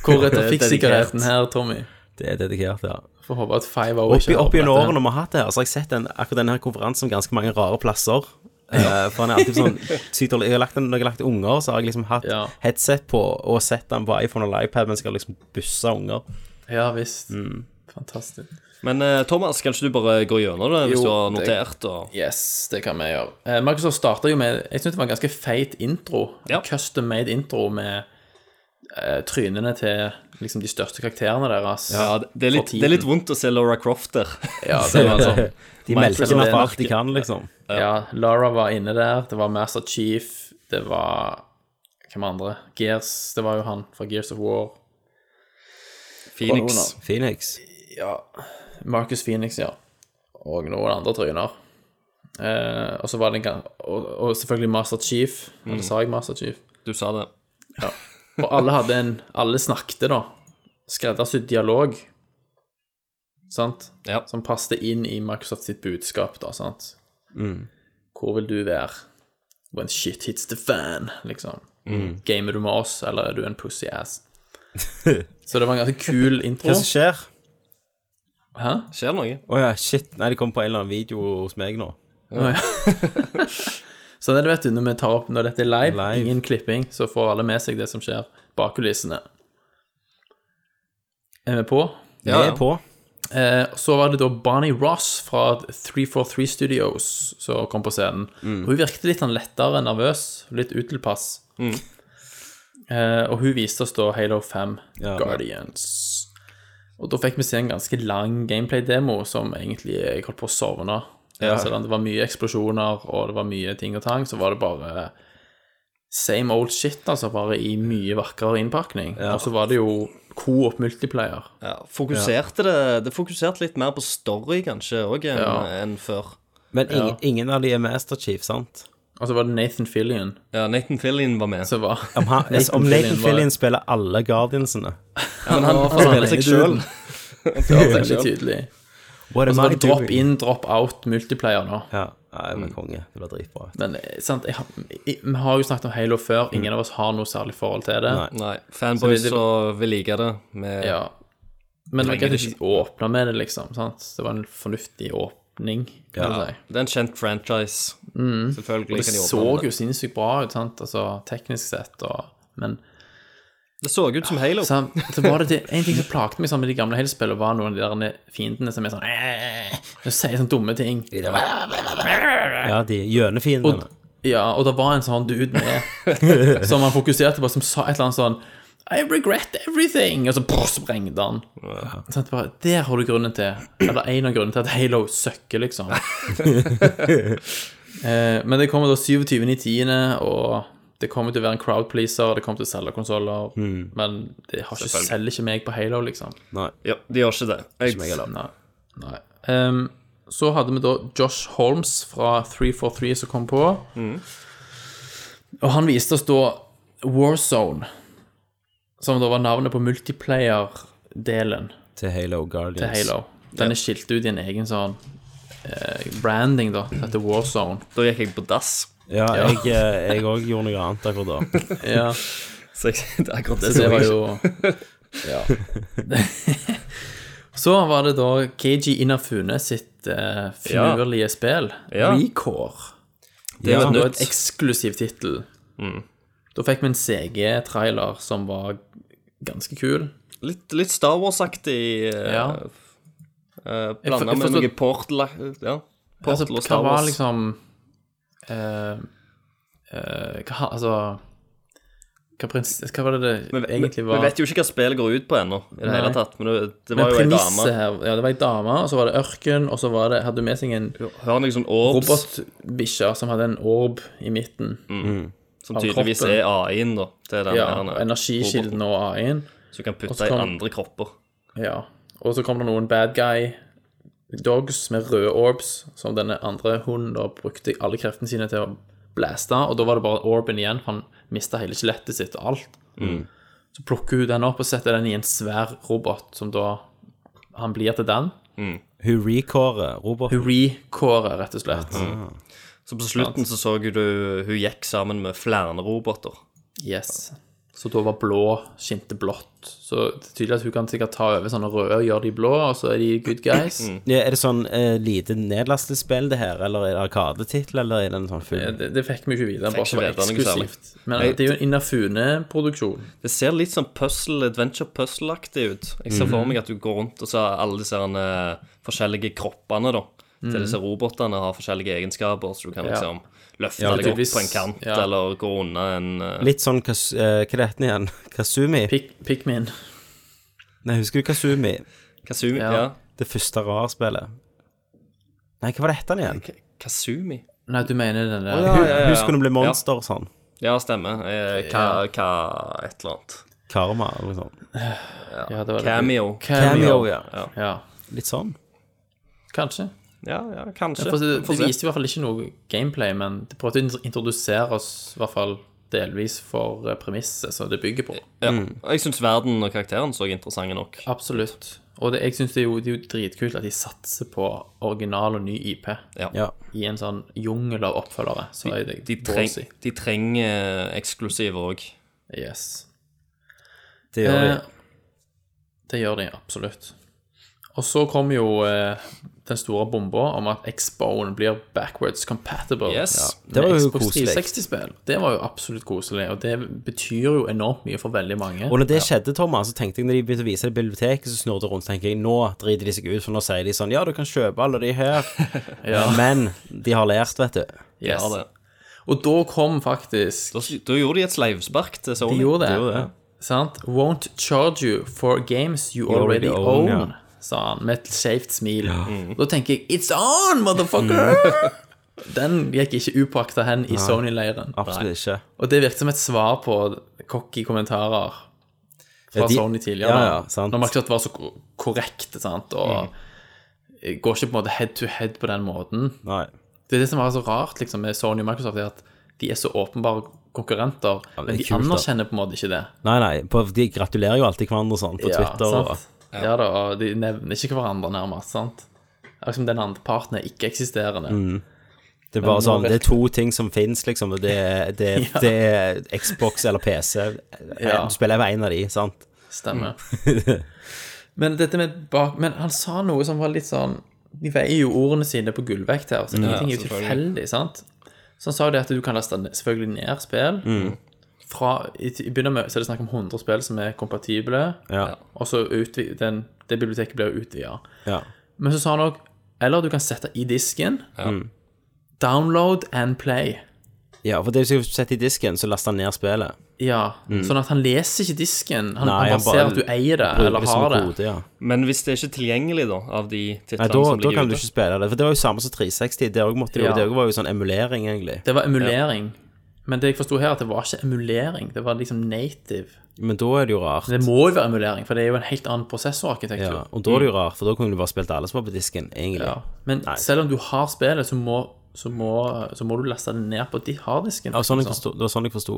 Hvor er Dedikert. trafikksikkerheten her, Tommy? Det er dedikert, ja. Får håpe at Five O Oppi, ikke oppi hører på dette. årene vi har hatt det her, så har jeg sett den, akkurat denne her konferansen ganske mange rare plasser. Eh, for han er alltid sånn sykt dårlig. Jeg har lagt den, Når jeg har lagt unger, så har jeg liksom hatt Ja. headset på og sett den på iPhone eller iPad mens jeg har liksom bussa unger. Ja visst. Fantastisk. Men eh, Thomas, kan ikke du bare gå gjennom det hvis Jo, du har det- notert? Og... Yes, det kan vi gjøre. Eh, Microsoft starta jo med Jeg syns det var en ganske feit intro. Ja. En Custom made intro med eh, trynene til liksom de største karakterene deres. Ja, det- det er, litt, det er litt vondt å se Laura Croft der. Ja, det var sånn. De melker Microsoft- meg for alt de kan, liksom. ja, Lara var inne der. Det var Master Chief. Det var Hvem andre? Gears. Det var jo han fra Gears of War. Phoenix. Phoenix. Ja. Marcus Phoenix, ja. Og noen andre tryner. Eh, og så var det en gang og, og selvfølgelig Master Chief. Mm. Eller sa jeg Master Chief? Du sa det. Og alle hadde en Alle snakket, da. Skreddersydd dialog. Sant? Ja. Som passte inn i Microsoft sitt budskap, da, sant. Hvor vil du være when shit hits the fan, liksom? Gamer du med oss, eller er du en pussy ass? Så det var en ganske kul intro. Hva som skjer? Hæ? Skjer det noe? Å ja, shit. Nei, det kom på en eller annen video hos meg nå. Så det du vet du, når vi tar opp når dette er live, Live. ingen klipping, så får alle med seg det som skjer bak kulissene. Er vi på? Vi er på. Eh, Så var det da Bonnie Ross fra 343 Studios som kom på scenen. Og Hun virket litt sånn lettere nervøs, litt utilpass. Eh, og hun viste oss da Halo 5 Ja. Guardians. Og da fikk vi se en ganske lang gameplay-demo som egentlig jeg holdt på å sovne. Ja. Selv om det var mye eksplosjoner og det var mye ting og tang, så var det bare same old shit, altså, bare i mye vakrere innpakning. Og så var det jo co-op multiplayer. Ja, fokuserte Det Det fokuserte litt mer på story, kanskje, òg, enn enn før. Men ingen, ingen av de er Master Chief, sant? Og så var det Nathan Fillion. Ja, Nathan Fillion var med. som var Om, han, Nathan om Nathan Fillion var- Fillion spiller alle Guardiansene. Ja, men han, Ja, han spiller faen, seg er du sjøl. den? Ja, veldig tydelig. What Og så am var I det drop doing? in, drop out multiplayer nå. Ja, Nei, men konge. Det blir dritbra. Men eh, sant, jeg, har- jeg, vi har jo snakket om Halo før. Mm. Ingen av oss har noe særlig forhold til det. Nei, fanboys Så det- og vil like det. Med, Ja. Men det var greit å ikke åpne med det, liksom. Sant? Det var en fornuftig åpning, kan du si. Det er en kjent franchise. Selvfølgelig Mm. Det kan de så åpne med det. jo sinnssykt bra ut, sant? Altså, teknisk sett. Og, men Det så ut som Halo. så, så var det, det en ting som plaget meg sammen med de gamle Halo-spillene, var noen av de der fiendene som er sånn eh, Som sier sånne dumme ting. Ja, de gjønefiendene. Ja, og det var en sånn dude med som han fokuserte på, som sa et eller annet sånn I regret everything! Og så brr, sprengte han. Sånn, det bare, der har du grunnen til Eller en av grunnene til at Halo søkker, liksom. eh, men det kommer da 27.10., og det kommer til å være en crowd pleaser, det kommer til å selge konsoller, men det har ikke, Selvfølgelig. selger ikke meg på Halo, liksom. Ja, de gjør ikke det. Jeg, Nei. Nei. Ehm, så hadde vi da Josh Holmes fra 343 som kom på. Og han viste oss da Warzone, som da var navnet på multiplayer-delen Til Halo Guardians. til Halo. Den er skilt ut i en egen sånn eh, branding, da. Dette Warzone. da gikk jeg på dass. Ja, jeg- eh, jeg òg gjorde noe annet akkurat da. Ja, Så jeg, det er akkurat det, så det som var jeg- jo Ja. så var det da KG Inafune sitt eh, finurlige spill, Ja. Recore. det er jo Det et var nytt. Mm. et eksklusiv tittel. Da fikk vi en CG-trailer som var ganske kul. Litt, litt Star Wars-aktig. eh, Ja. eh, Jeg for- Blanda jeg med noe forstod- Portal ja. Altså, Portal og hva Star var Wars. liksom eh, eh, hva, Altså hva, prins, hva var det det vi, vi, egentlig var? vi vet jo ikke hva spillet går ut på ennå, i det Nei. hele tatt. Men det, det Men var jo ei dame. premisset her Ja, det var ei dame, og så var det ørken, og så var det, hadde hun med seg en Hører noe sånn orbs robotbikkje som hadde en orb i midten. Mm, som av tydeligvis kroppen. er AI-en, da. Til den Ja, her, og eh, energikilden og AI-en. roboten, Som kan og putte så i kan- andre kropper. Ja. Og så kom det noen bad guy dogs med røde orbs, som denne andre hunden da brukte alle kreftene sine til å blaste, og da var det bare orben igjen, for han mista hele skjelettet sitt og alt. Så plukker hun den opp og setter den i en svær robot, som da han blir til den. Hun recore Robert. Hun recorer, rett og slett. Så på slutten så så du hun gikk sammen med flere roboter. Yes. Så da var blå skinte blått. Så det er tydelig at hun kan sikkert ta over sånne røde og gjøre de blå, og så er de good guys. Ja, er det sånn eh, lite nedlastespill, det her, eller er det arkadetittel, eller er det en sånn Eh, full Det, det fikk vi ikke vite. Fikk Bare ikke som vite noe eksklusivt. særlig. Men Jeg- det er jo en Inafune-produksjon. Det ser litt sånn puzzle, adventure-puzzle-aktig ut. Jeg ser Mhm. for meg at du går rundt og ser alle disse her, eh, forskjellige kroppene, da. Til disse robotene har forskjellige egenskaper, så du kan Mhm. Ja. liksom løfte Ja, deg opp tydeligvis, på en kant, ja. eller gå unna en eh, Litt sånn kas, eh, Hva er dette igjen? Kasumi? Pik Pikmin. Nei, husker du Kasumi? Kasumi. Ja. Ja. Det første rarspillet. Nei, hva var det hette han igjen? K- Kasumi? Nei, du mener den der Ja, ja, ja, Hun ja. skulle bli monster og sånn. Ja, stemmer. Eh, Ka, ka et eller annet. Karma eller noe sånt. Ja, det var det. Cameo. Cameo, ja. Ja, Litt sånn. kanskje. Ja, ja, kanskje. For det, Få det se. viste i hvert fall ikke noe gameplay, men det prøvde å in- introdusere oss i hvert fall delvis for eh, premisset som det bygger på. Ja. Og Jeg syns verden og karakteren så interessante nok. Absolutt. Og det, jeg syns det, er jo- det er jo dritkult at de satser på original og ny IP Ja. Ja. i en sånn jungel av oppfølgere. Så er det De, treng, ballsy. de trenger eh, eksklusiver òg. Yes. Det gjør de. Eh, Det gjør de absolutt. Og så kom jo eh, den store bomba om at Xbone blir backwards compatible. Yes. med Det var jo Xbox koselig. 360-spill. Det var jo absolutt koselig, og det betyr jo enormt mye for veldig mange. Og når det skjedde, Thomas, så tenkte jeg når de begynte å vise det i biblioteket, så snurret det rundt, tenker jeg nå driter de seg ut, for nå sier de sånn ja, du kan kjøpe alle de her, men de har lært, vet du. Ja, Yes. det. Og da kom faktisk Da, da gjorde de et sleivspark til Sony. De gjorde det. gjorde det. Sant? Won't charge you for games you already, already own, own, sa han med et skjevt smil. Mm. Da tenker jeg It's on, motherfucker! Den gikk ikke upåakta hen i Sony-leiren. Absolutt ikke. Og det virket som et svar på cocky kommentarer fra Ja, de- Sony tidligere. Ja, ja, da. sant. Når man ikke at det var så ko- korrekt, sant, og Mm. går ikke på en måte head to head på den måten. Nei. Det er det som er så rart liksom, med Sony og Microsoft, er at de er så åpenbare konkurrenter, Ja, det er men de kult, da. anerkjenner på en måte ikke det. Nei, nei, på, de gratulerer jo alltid hverandre sånn på Twitter og sant? Ja da, og de nevner ikke hverandre nærmest, sant. Det er Liksom den andre parten er ikke-eksisterende. Mm. Det er bare nå sånn, det er virker- to ting som fins, liksom. og Det, er- det, er- Ja. det er Xbox eller PC. Ja. Du spiller hver en av de, sant? Stemmer. Mm. men dette med bak... Men han sa noe som var litt sånn De veier jo ordene sine på gullvekt her, så ingenting er jo tilfeldig, sant? Så han sa jo det at du kan laste ned- selvfølgelig ned spill. Mm. Fra, i, I begynner med så er det snakk om 100 spill som er kompatible, Ja. og så utvi- den, det biblioteket blir jo utvida. Ja. Men så sa han òg Eller du kan sette i disken. Download and play. ja for det du setter i disken, så laster han ned spillet. Ja, Sånn at han leser ikke disken. Han, Mm. Nei, han han bare ser bare at du eier det, Bruker eller som har det. en kode, ja. Men hvis det er ikke er tilgjengelig, da, av de titlene Nei, da, som da ligger kan du ute ikke spille det. For det var jo samme som 360. Det òg måtte de jo, Ja. det også var jo sånn emulering, egentlig. Det var emulering. Men det jeg forsto her, at det var ikke emulering. Det var liksom native. Men da er det jo rart. Det må jo være emulering, for det er jo en helt annen prosessorarkitektur. Ja, og da er det jo rart, for da kunne du bare spilt alle som var på disken, egentlig. Mm. Ja, Men selv om du har spillet, så må, så må, så må du laste det ned på di- harddisken. Ja, sånn jeg liksom. forsto, det var sånn jeg forsto.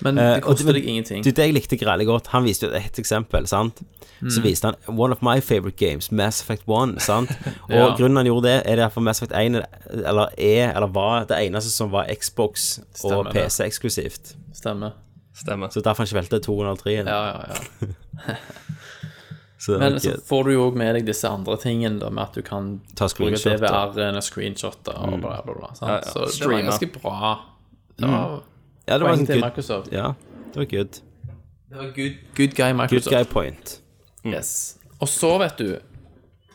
Men Eh, det og koster det- deg ingenting. Du, det jeg likte greit godt Han viste jo et eksempel, sant? Mm. Så viste han One of my favorite games, Mass Effect 1, sant? Og Ja. grunnen han gjorde det, er derfor Mass Effect 1 er- eller er, eller var, det eneste som var Xbox Stemmer og det. PC eksklusivt. Stemmer. Stemmer. Så derfor han ikke velte 203-en. Ja, ja, ja. Så det er Men nok så et- får du jo òg med deg disse andre tingene, da, med at du kan Ta Mm. bruke screenshotter. DVR-en og screenshotter og bla, bla, bla. Sant? Ja, ja. Så det var Streamer. ganske bra. Det var Mm. ja, det var poeng en til good, Microsoft. ja, det var good. Det var good, good guy Good Microsoft. guy point. Yes. Og så, vet du,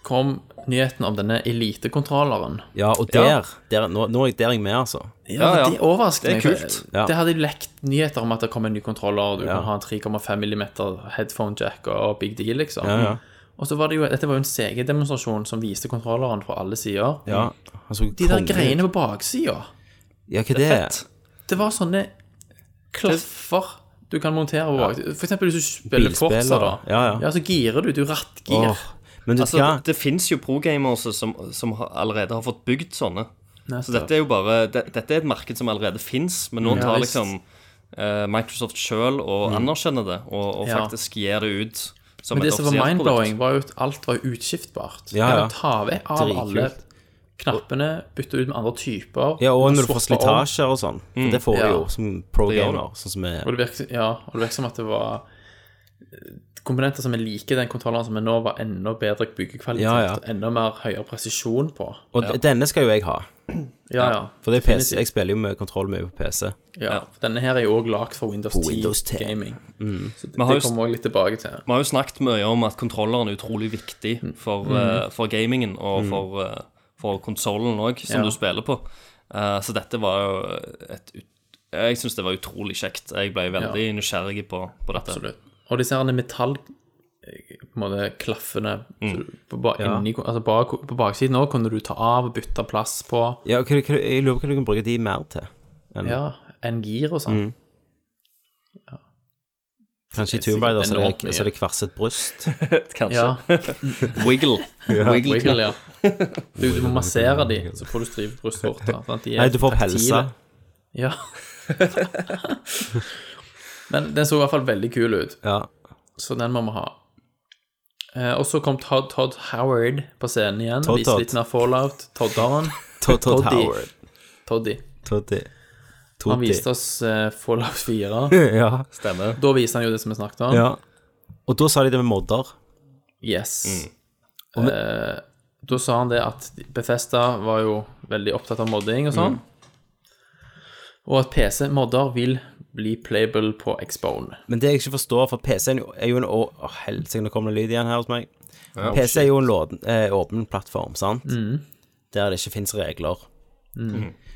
kom nyheten om denne elitekontrolleren. Ja, og der, der nå, nå er jeg der jeg er med, altså. Ja, ja. Det overrasket Det meg. er kult. Ja. Det hadde jo lekt nyheter om at det kom en ny kontroller, du Ja. kan ha en 3,5 mm headphone jack og, og big deal, liksom. Ja, ja. Og så var det jo, dette var jo en CG-demonstrasjon som viste kontrolleren fra alle sider. Ja, han så De der konge ut. greiene på baksida, Ja, hva det er? det var sånne klaffer du kan montere på baksida. For eksempel hvis du spiller Bilspillere. Forza, da. Ja, ja. så girer du. Du rattgir. Åh, Men du, Altså, hva? det, det finnes jo progamers som, som har, allerede har fått bygd sånne. Nettopp. Så dette er jo bare det, Dette er et marked som allerede fins, men nå tar Mm. visst. Mm. liksom eh, Microsoft sjøl og anerkjenner det, og, og Ja. faktisk gir det ut som Men et det som var offisielt produkt. mindblowing, var jo at alt var utskiftbart. Ja, ja. Du kan ta vekk av Dritkult. alle knappene, bytte ut med andre typer. Ja, og du kan når du får swappe om. slitasjer og sånn. For det får Ja. du jo som pro Det gjør gamer. Sånn som Og er det virker, ja, og det virker som at det var eh, komponenter som er like den kontrolleren som er nå, var enda bedre byggekvalitet Ja, ja. og enda mer høyere presisjon på. Og d- denne skal jo jeg ha. Ja, ja. For det er PC. Jeg spiller jo med kontroll med på PC. ja. Denne her er jo òg lagd for Windows 10, Windows Mm. 10. Gaming. Så det, Vi har det jo- kommer òg litt tilbake til. Vi har jo snakket mye om at kontrolleren er utrolig viktig Mm. for, eh, for gamingen og for, uh, for konsollen òg, som Ja. du spiller på. Eh, så dette var jo et ut... Jeg syns det var utrolig kjekt. Jeg ble veldig nysgjerrig på, på dette. Absolutt. Og disse her metall eh, på en måte klaffene så du- på, ba, inni, altså bak, på baksiden òg kunne du ta av og bytte plass på. Ja, hva, hva, jeg lurer på hva du kan bruke de mer til. enn- Ja, en gir og sånn. Mm. Kanskje i det er Tomb Raider sikkert så er enormt mye. det, så er det kvarset bryst. Kanskje. Ja, Wiggle. Wiggle. wiggle, ja. Du, du må massere de, så får du strivet brystvorter. sant? De er Nei, du får pelsa. taktile. Ja. Men den så i hvert fall veldig kul ut, Ja. så den må vi ha. Eh, og så kom Todd, Todd Howard på scenen igjen. Todd, Viste Todd. litt mer Fallout. Todderen. Todd Todd Toddy. Howard. Toddy. Toddy. Han Toddy. viste oss eh, Fallout 4. Ja. Stemmer. Da viste han jo det som vi snakket om. ja. Og da sa de det med modder. Yes. Mm. Eh, da sa han det at Bethesda var jo veldig opptatt av modding og sånn. Og at PC-modder vil bli playable på Xbone. Men det jeg ikke forstår, for PC-en jo- er jo en Å, å, helsike, nå kommer det lyd igjen her hos meg. PC er jo en låden, eh, åpen plattform, sant? Mm. Der det ikke fins regler.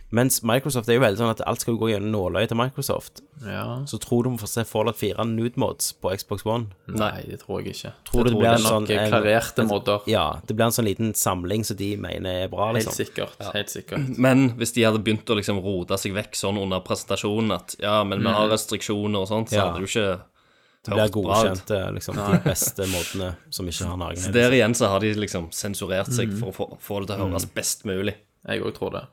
Mens Microsoft er jo veldig sånn at alt skal jo gå gjennom nåløyet til Microsoft. Ja. Så tror du vi får se Fallout 4 nude mods på Xbox One? Nei, det tror jeg ikke. Tror du det blir er en nok sånn- en- klarerte modder. Ja, det blir en sånn liten samling som de mener er bra, Helt liksom. sikkert. Helt sikkert. Men hvis de hadde begynt å liksom rote seg vekk sånn under presentasjonen at ja, men vi har restriksjoner og sånt, så Mm. Ja. hadde du ikke Det hørt blir bra ut. godkjent, eh, liksom, de beste modene som ikke har Så nagen. Der igjen så har de liksom sensurert seg Mm. for å få, få det til å høres best mulig. Jeg òg tror det.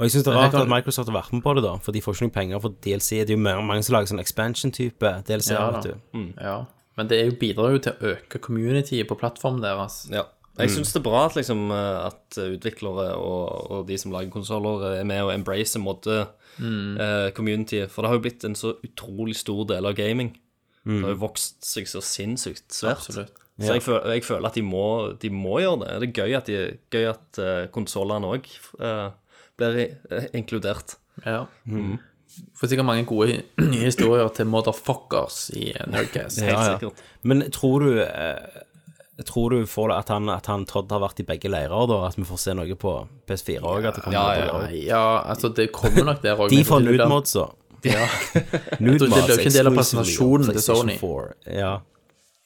Og jeg syns det er rart kan- at Microsoft har vært med på det, da. For de får ikke noen penger for DLC. Det er jo mer- mange som lager sånn expansion-type DLC, Ja, vet da. du. Ja. Men det er jo, bidrar jo til å øke communityet på plattformen deres. Ja. Mm. Jeg syns det er bra at, liksom, eh, at utviklere og, og de som lager konsoller, eh, er med og embracer Mm. modde-communityet. for det har jo blitt en så utrolig stor del av gaming. Mm. Det har jo vokst seg så sinnssykt svært. Absolutt. Så jeg føler, jeg føler at de må, de må gjøre det. Det er gøy at, de- gøy at eh, konsollene òg blir eh, inkludert. Ja. Mm. Får sikkert mange gode nye historier til motherfuckers i Nerdcast. Helt Ja, ja. sikkert. Men tror du eh, Tror du får det at han, at han Todd har vært i begge leirer, da? At vi får se noe på PS4 òg? at det kommer Ja, noe på ja, leirer? ja, altså det kommer nok der òg. De får nudemods, så. Ja, Nude det blir jo ikke en del av exclusively presentasjonen on til Sony. PlayStation 4. Ja.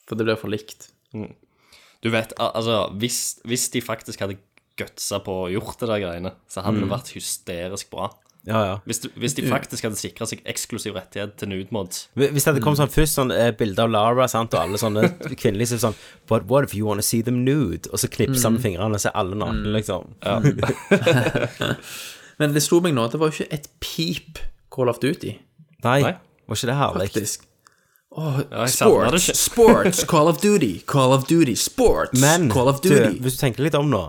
for det blir for likt. Du vet, al- altså, Mm. hvis, hvis de faktisk hadde gutsa på og gjort det der greiene, så hadde det vært hysterisk bra. Ja, ja. Hvis, du, hvis de faktisk hadde sikra seg eksklusiv rettighet til nudemods. Hvis det kom sånn først sånn eh, bilde av Lara sant, og alle sånne kvinnelige så er det sånn But what if you wanna see them nude? Og så knipser Mm. han med fingrene, og så er alle nakne, liksom. Men det slo meg nå, det var jo ikke et pip Call of Duty, Nei, Nei. var ikke det herlig? faktisk. Åh, jeg savner det sports, ikke. sports, Call of Duty, Call of Duty, sports, Men Call of du, Duty. Mm. hvis du tenker litt om nå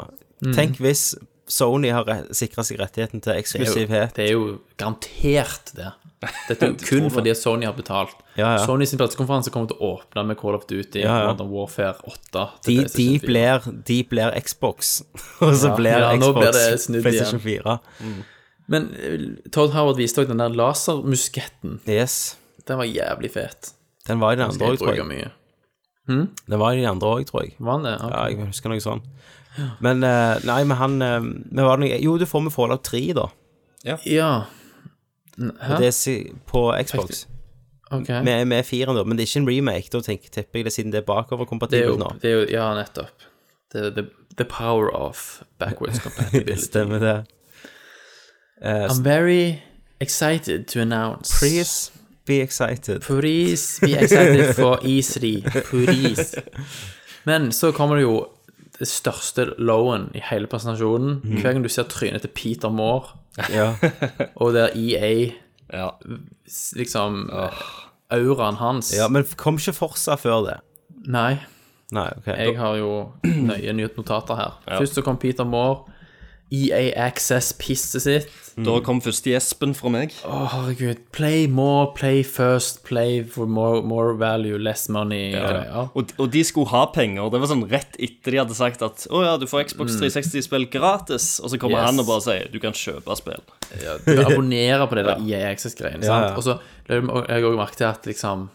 Tenk hvis Sony har sikra seg rettigheten til eksklusivhet. Det er jo garantert det. Dette er jo kun fordi at Sony har betalt. Ja, ja. Sony sin pressekonferanse kommer til å åpne med Call of Duty, Ja, ja. Modern Warfare 8 De, de, til PlayStation 4. blir, de blir Xbox, og så blir Ja, nå Xbox blir det snudd igjen. PlayStation 4. Men eh, Todd Howard viste også den der lasermusketten. Yes. Den var jævlig fet. Den var i den andre Skal òg, jeg tror bruke jeg. mye. Den var i den andre også, tror jeg. Var den det? Ja, Ok. jeg husker noe sånn. Men eh, Nei, men han eh, men var det noe, Jo, du får med Fallout 3, da. Ja, Og det er si- på Xbox. ok. Med, med fireren, da. Men det er ikke en remake, da tenker, tipper jeg det, siden det er Det er jo, bakoverkompatibelt nå. det er jo Ja, nettopp. Det er the, the power of backwards compatibility. Stemmer det. I'm very excited to announce Please be excited. Please be excited for E3. Please. Men så kommer det jo det største lowen i hele presentasjonen. Hver gang du ser trynet til Peter Moore, Mhm. Ja. og der EA Ja. s- liksom Auraen hans ja, men kom ikke Forsa før det. Nei, Nei, ok. jeg har jo nøye nytt notater her. Først så kom Peter Moore. E EA Access-pisset sitt. Da kom første gjespen fra meg. Å, herregud. Play more, play first, play for more, more value, less money. greier. Og, og de skulle ha penger. Det var sånn rett etter de hadde sagt at å ja, du får Mm. Xbox 360-spill gratis. Og så kommer Yes. han og bare sier du kan kjøpe spill. Du abonnerer på det der EA Access-greiene. sant? ja. Og så la jeg òg merke til at liksom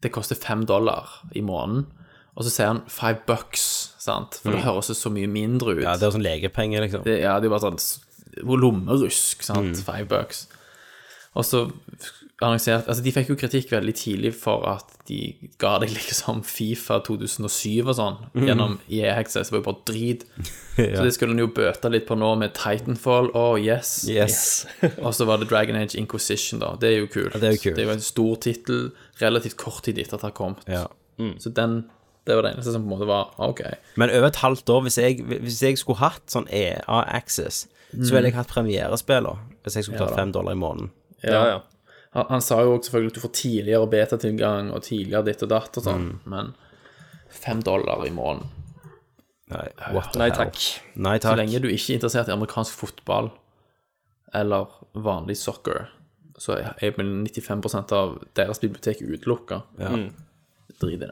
det koster fem dollar i måneden, og så sier han five bucks, sant? For det høres jo så mye mindre ut. Mm. Ja, det er sånn legepenger, liksom. det, ja, det er jo bare sånn s- lommerusk, Mm. sant? Five bucks. Og så annonserte Altså, de fikk jo kritikk veldig tidlig for at de ga deg liksom Fifa 2007 og sånn Mm. gjennom EA Access. Det var jo bare drit. Så det skulle en jo bøte litt på nå med Titanfall. Oh, yes. Yes. Og så var det Dragon Age Inquisition, da. Det er jo kult. det er jo kult. en stor tittel relativt kort tid etter at det har kommet. Ja. Mm. Så den Det var det eneste som på en måte var ah, OK. Men over et halvt år, hvis jeg, hvis jeg skulle hatt sånn EA Access, så ville jeg hatt premierespiller hvis jeg skulle tatt fem dollar i måneden. Ja, ja. Han, han sa jo også selvfølgelig at du får tidligere betatilgang og tidligere ditt og datt og sånn, Mm. men fem dollar i måneden. Nei, what the Nei hell. takk. Nei Så takk. lenge du ikke er interessert i amerikansk fotball eller vanlig soccer, så er er vel 95 av deres bibliotek utelukka. Ja. Mm. Drit i det.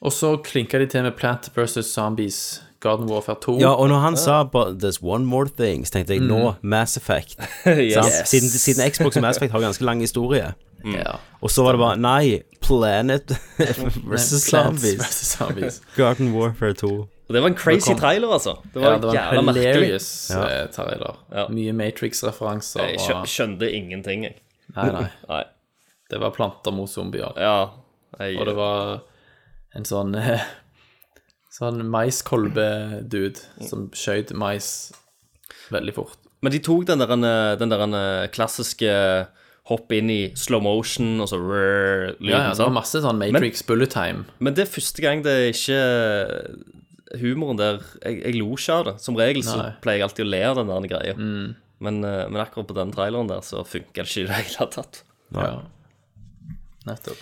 Og så klinka de til med Plant vs. Zombies Garden Warfare 2. Ja, og når han sa bare, 'There's one more thing', så tenkte jeg nå Mass Effect. sant? Mm. Yes. Siden, siden Xbox og Mass Effect har ganske lang historie. ja. Og så var det bare Nei, Planet versus Plants Zombies. vs. Zombies. Garden Warfare 2. Og det var en crazy trailer, altså. Det var, Ja, det var jævla en merkelig. hilarious eh, trailer. Mye Matrix-referanser. Jeg skjø- Og... skjønte ingenting, jeg. Nei, nei. Nei. Det var planter mot zombier. Ja. Jeg, Og det var en sånn eh, Sånn maiskolbe-dude som skjøt mais veldig fort. Men de tok den der, eh, den der eh, klassiske hopp inn i slow motion og så lyden, Ja, ja, det var sant? masse sånn Matrix bullet time. Men det er første gang det er ikke eh, Humoren der Jeg, jeg lo ikke av det. Som regel så Nei. Mm. pleier jeg alltid å le av den der greia. Men, eh, men akkurat på den traileren der så funka det ikke i det hele tatt. Ja. Nettopp.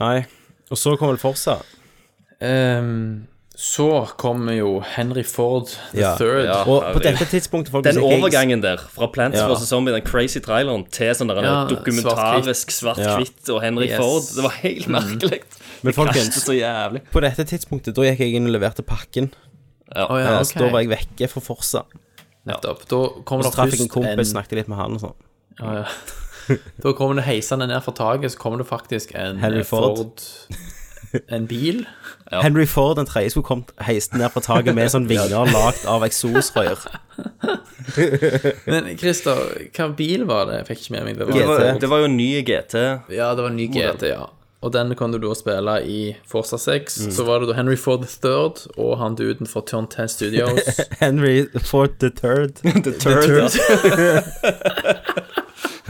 Nei. Og så kom vel Forsa. Ehm, så kommer jo Henry Ford the Ja. third. Ja. Og på herregud. dette tidspunktet folk Den hvis ikke jeg- overgangen der, fra Plants Ja. vs. Zombie, den crazy traileren, til sånn der en Ja, dokumentarisk svart-hvitt og Henry Yes. Mm. Ford, det var helt merkelig. Men Krasjet folkens, så jævlig. på dette tidspunktet, da gikk jeg inn og leverte pakken. Å ja, Eh, ok. Så da var jeg vekke fra Forsa. Nettopp. Da kommer Så det traff jeg en først kompis, snakket litt med han og sånn. Ja, ja. Da kommer det heisende ned fra taket, så kommer det faktisk en Henry eh, Ford. En bil. Henry Ford den tredje skulle kommet heist ned fra taket med sånn vinger lagd av eksosrør. Men Christer, hva bil var det? Jeg fikk ikke med meg det. Det var var, det var jo en ny GT. Ja, det var en ny GT, ja. og den kan du da spille i Forza 6. Mm. Så var det da Henry Ford III og han duden fra Turn 10 Studios. Henry Ford the Third. the Turd, Third.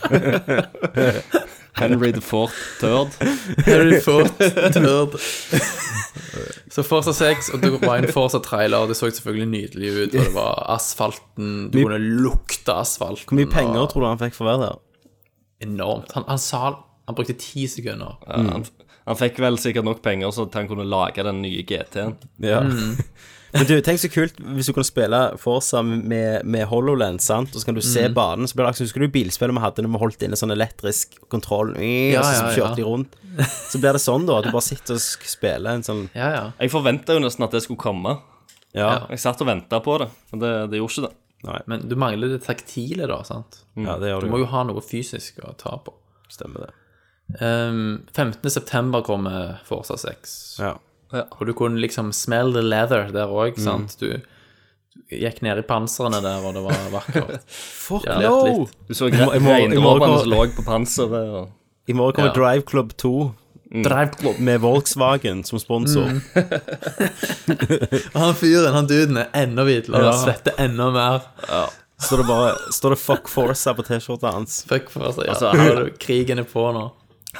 Henry the Fourth Third. Henry Ford III. Så Forza 6, og det var en Forza-trailer. Det så selvfølgelig nydelig ut, og det var asfalten Du kunne lukte asfalten. Hvor mye og- penger tror du han fikk for å være der? Enormt. Han, han sa han brukte ti sekunder. Ja, Mm. han, han fikk vel sikkert nok penger så at han kunne lage den nye GT-en. Ja. Mm. Men du, tenk så kult hvis du kunne spille Forza med, med HoloLens, sant? og så kan du se Mm. banen. Så blir det akkurat, Husker du bilspillet vi hadde når vi holdt inne sånn elektrisk kontroll? Ja, og så ja, ja. kjørte de rundt. Så blir det sånn, da. At du bare sitter og sk- spiller en sånn Ja, ja. Jeg forventa jo nesten at det skulle komme. Ja, Jeg satt og venta på det, men det, det gjorde ikke det. Men du mangler det taktile, da. sant? ja det gjør Mm. Du du. må jo. jo ha noe fysisk å ta på. Stemmer det. Um, 15.9 kommer Forsa 6. Ja. Og du kunne liksom smell the leather der òg, sant? Du gikk ned i panserne der, og det var vakkert. Fuck Ja, no! litt. Du så må- jeg må- jeg må regndråpene gå- som lå på panseret. og... Mm. I morgen kommer Ja. Drive Club 2 Drive club. med Volkswagen som sponsor. Mm. Han fyren, han duden, er enda hvitere Ja. og svetter enda mer. Står det bare står det 'Fuck Forza' på T-skjorta hans. Fuck for seg. Altså, Altså, han- krigen er på nå.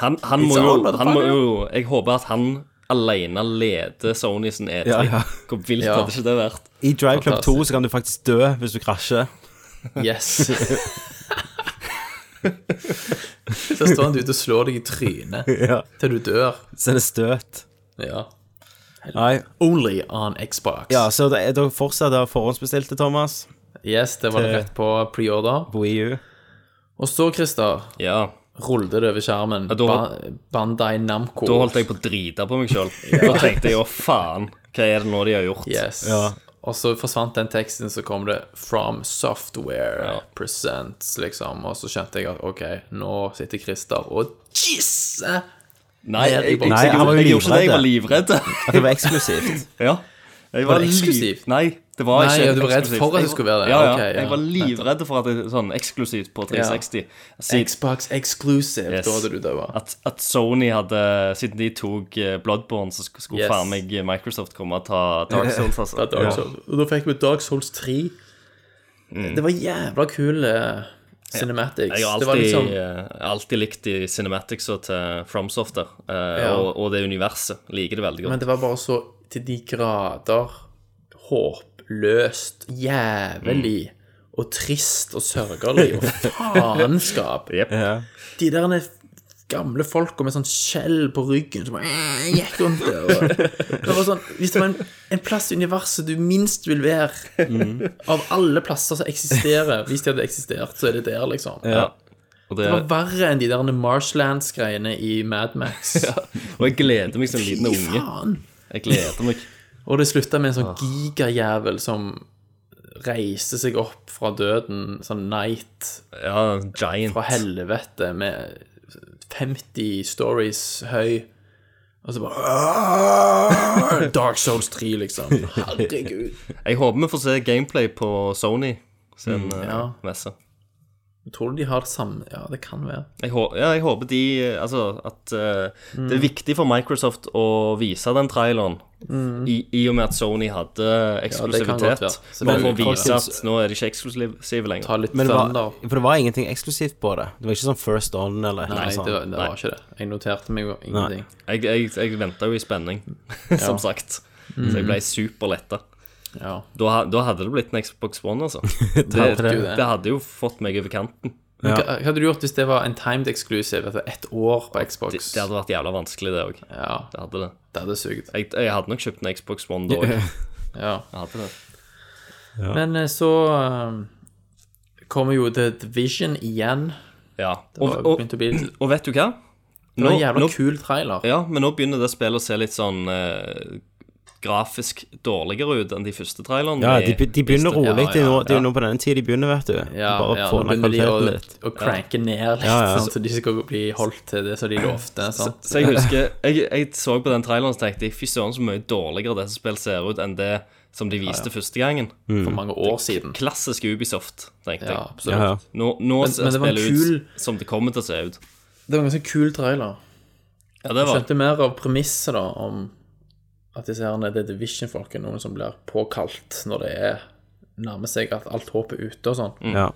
Han, han, må It's jo, all about han the må fun, jo Jeg håper at han alene leder Sony sin E3. Ja, ja. Hvor vilt Ja. hadde ikke det vært? I Drive Club 2 Fantastisk. så kan du faktisk dø hvis du krasjer. Yes. Så står han ute og slår deg i trynet Ja. til du dør. Så er det støt. Ja. altså. Nei. Only on Xbox. Ja, så det er- dere fortsatt har forhåndsbestilt det, Thomas? Yes, det var det rett på pre-order. På EU? Og så, Christer, Ja. rullet det over skjermen. da- Ba Bandai Namco. Da holdt jeg på å drite på meg sjøl. Da tenkte jeg å faen, hva er det nå de har gjort? Yes. Ja. Og så forsvant den teksten, så kom det 'From Software Ja. Presents', liksom. Og så skjønte jeg at OK, nå sitter Christer og jisse! Nei, jeg, jeg, jeg, Nei, han var jo jeg, gjorde ikke det. Jeg var livredd. At det var eksklusivt? ja. Jeg Var det liv- eksklusivt? Nei, det var Nei, ikke ja, du var redd eksklusivt. for at det Jeg- skulle være det. Ja, ja. Ok, ja, Jeg var nettopp. livredd for at det sånn eksklusivt på 360. Siden- Xbox Exclusive. Yes. Da hadde du daua. at, at Sony hadde Siden de tok eh, Bloodborne, så sk- skulle Yes. faen meg Microsoft komme og ta Dark Souls. Altså. Dark Souls. Og da fikk vi Dark Souls 3. Det var jævla kul eh, cinematics. Mm. Jeg har det var alltid, liksom eh, alltid likt de cinematicsene til Fromsoft der, eh, Ja. og, og det universet. Liker det veldig Men godt. det var bare så til de grader håpløst, jævlig Mm. og trist og sørgelig og faenskap. Ja. De der gamle folka med sånn skjell på ryggen som eh, gikk rundt der. Og, det var sånn, hvis det var en, en plass i universet du minst vil være, Mm. av alle plasser som eksisterer, hvis de hadde eksistert, så er det der, liksom. Ja. Og, det, Det var verre enn de der Marshlands-greiene i Mad Max. og jeg gleder meg som en liten Fy unge. faen! Jeg gleder meg. Og det slutta med en sånn gigajævel som reiste seg opp fra døden, sånn night Ja, Giant. fra helvete, med 50 stories høy. Og så bare Dark Souls 3, liksom. Herregud. Jeg håper vi får se gameplay på Sony sin eh, Mm, ja. messe. Tror du de har det samme Ja, det kan være. Jeg, hå- ja, jeg håper de eh, Altså at eh, det Mm. er viktig for Microsoft å vise den traileren. I, I og med at Sony hadde Mm. det kan godt eksklusivitet. være. Så bare det- for å vise Folkens- at nå er de ikke eksklusive lenger. Ta litt Men det thunder. var, for det var ingenting eksklusivt på det? Det var ikke sånn First On eller Nei, noe det, sånt? var- det var ikke det. Jeg noterte meg jo ingenting. Jeg, jeg, jeg venta jo i spenning, som sagt. Mm. Så jeg ble superletta. Ja. Da, ha- da hadde det blitt en Xbox One, altså. Det, hadde det, det. hadde jo fått meg over kanten. Men hva, hva hadde du gjort hvis det var en timed exclusive etter ett år på Det, Xbox? det hadde vært jævla vanskelig, det òg. Ja, Det hadde det. det hadde sugd. Jeg, jeg hadde nok kjøpt en Xbox One da òg. Ja. Hadde det. Men eh, så eh, kommer jo The Division igjen. Ja. Og, Og, og, begynte å bli Det og vet du hva? var Nå, en jævla nå, kul trailer. ja, men nå begynner det spillet å se litt sånn eh, grafisk dårligere ut enn de første trailerne. Ja, de, be- de begynner Første- rolig. Det er jo nå- det er jo ja. nå på denne tid de begynner, vet du. Ja, Bare ja, få nå ned begynner de å, kvaliteten litt. å cranke ned litt, Ja, ja. sånn så de skal bli holdt til det som de lovte. Sant? Så jeg husker Jeg, jeg så på den traileren og tenkte jeg, fy søren så mye dårligere dette spillet ser ut enn det som de viste første gangen. mm. For mange år siden. Klassisk Ubisoft, tenkte Ja, jeg. Ja, absolutt. ja. Nå, nå Men- ser men det var en spillet kul- ut som det kommer til å se ut. Det var en ganske kul trailer. Ja, det var Skjønte mer av premisset da, om at disse her, det er Division-folk er noen som blir påkalt når det er nærmer seg at alt håp er ute og sånn. Ja.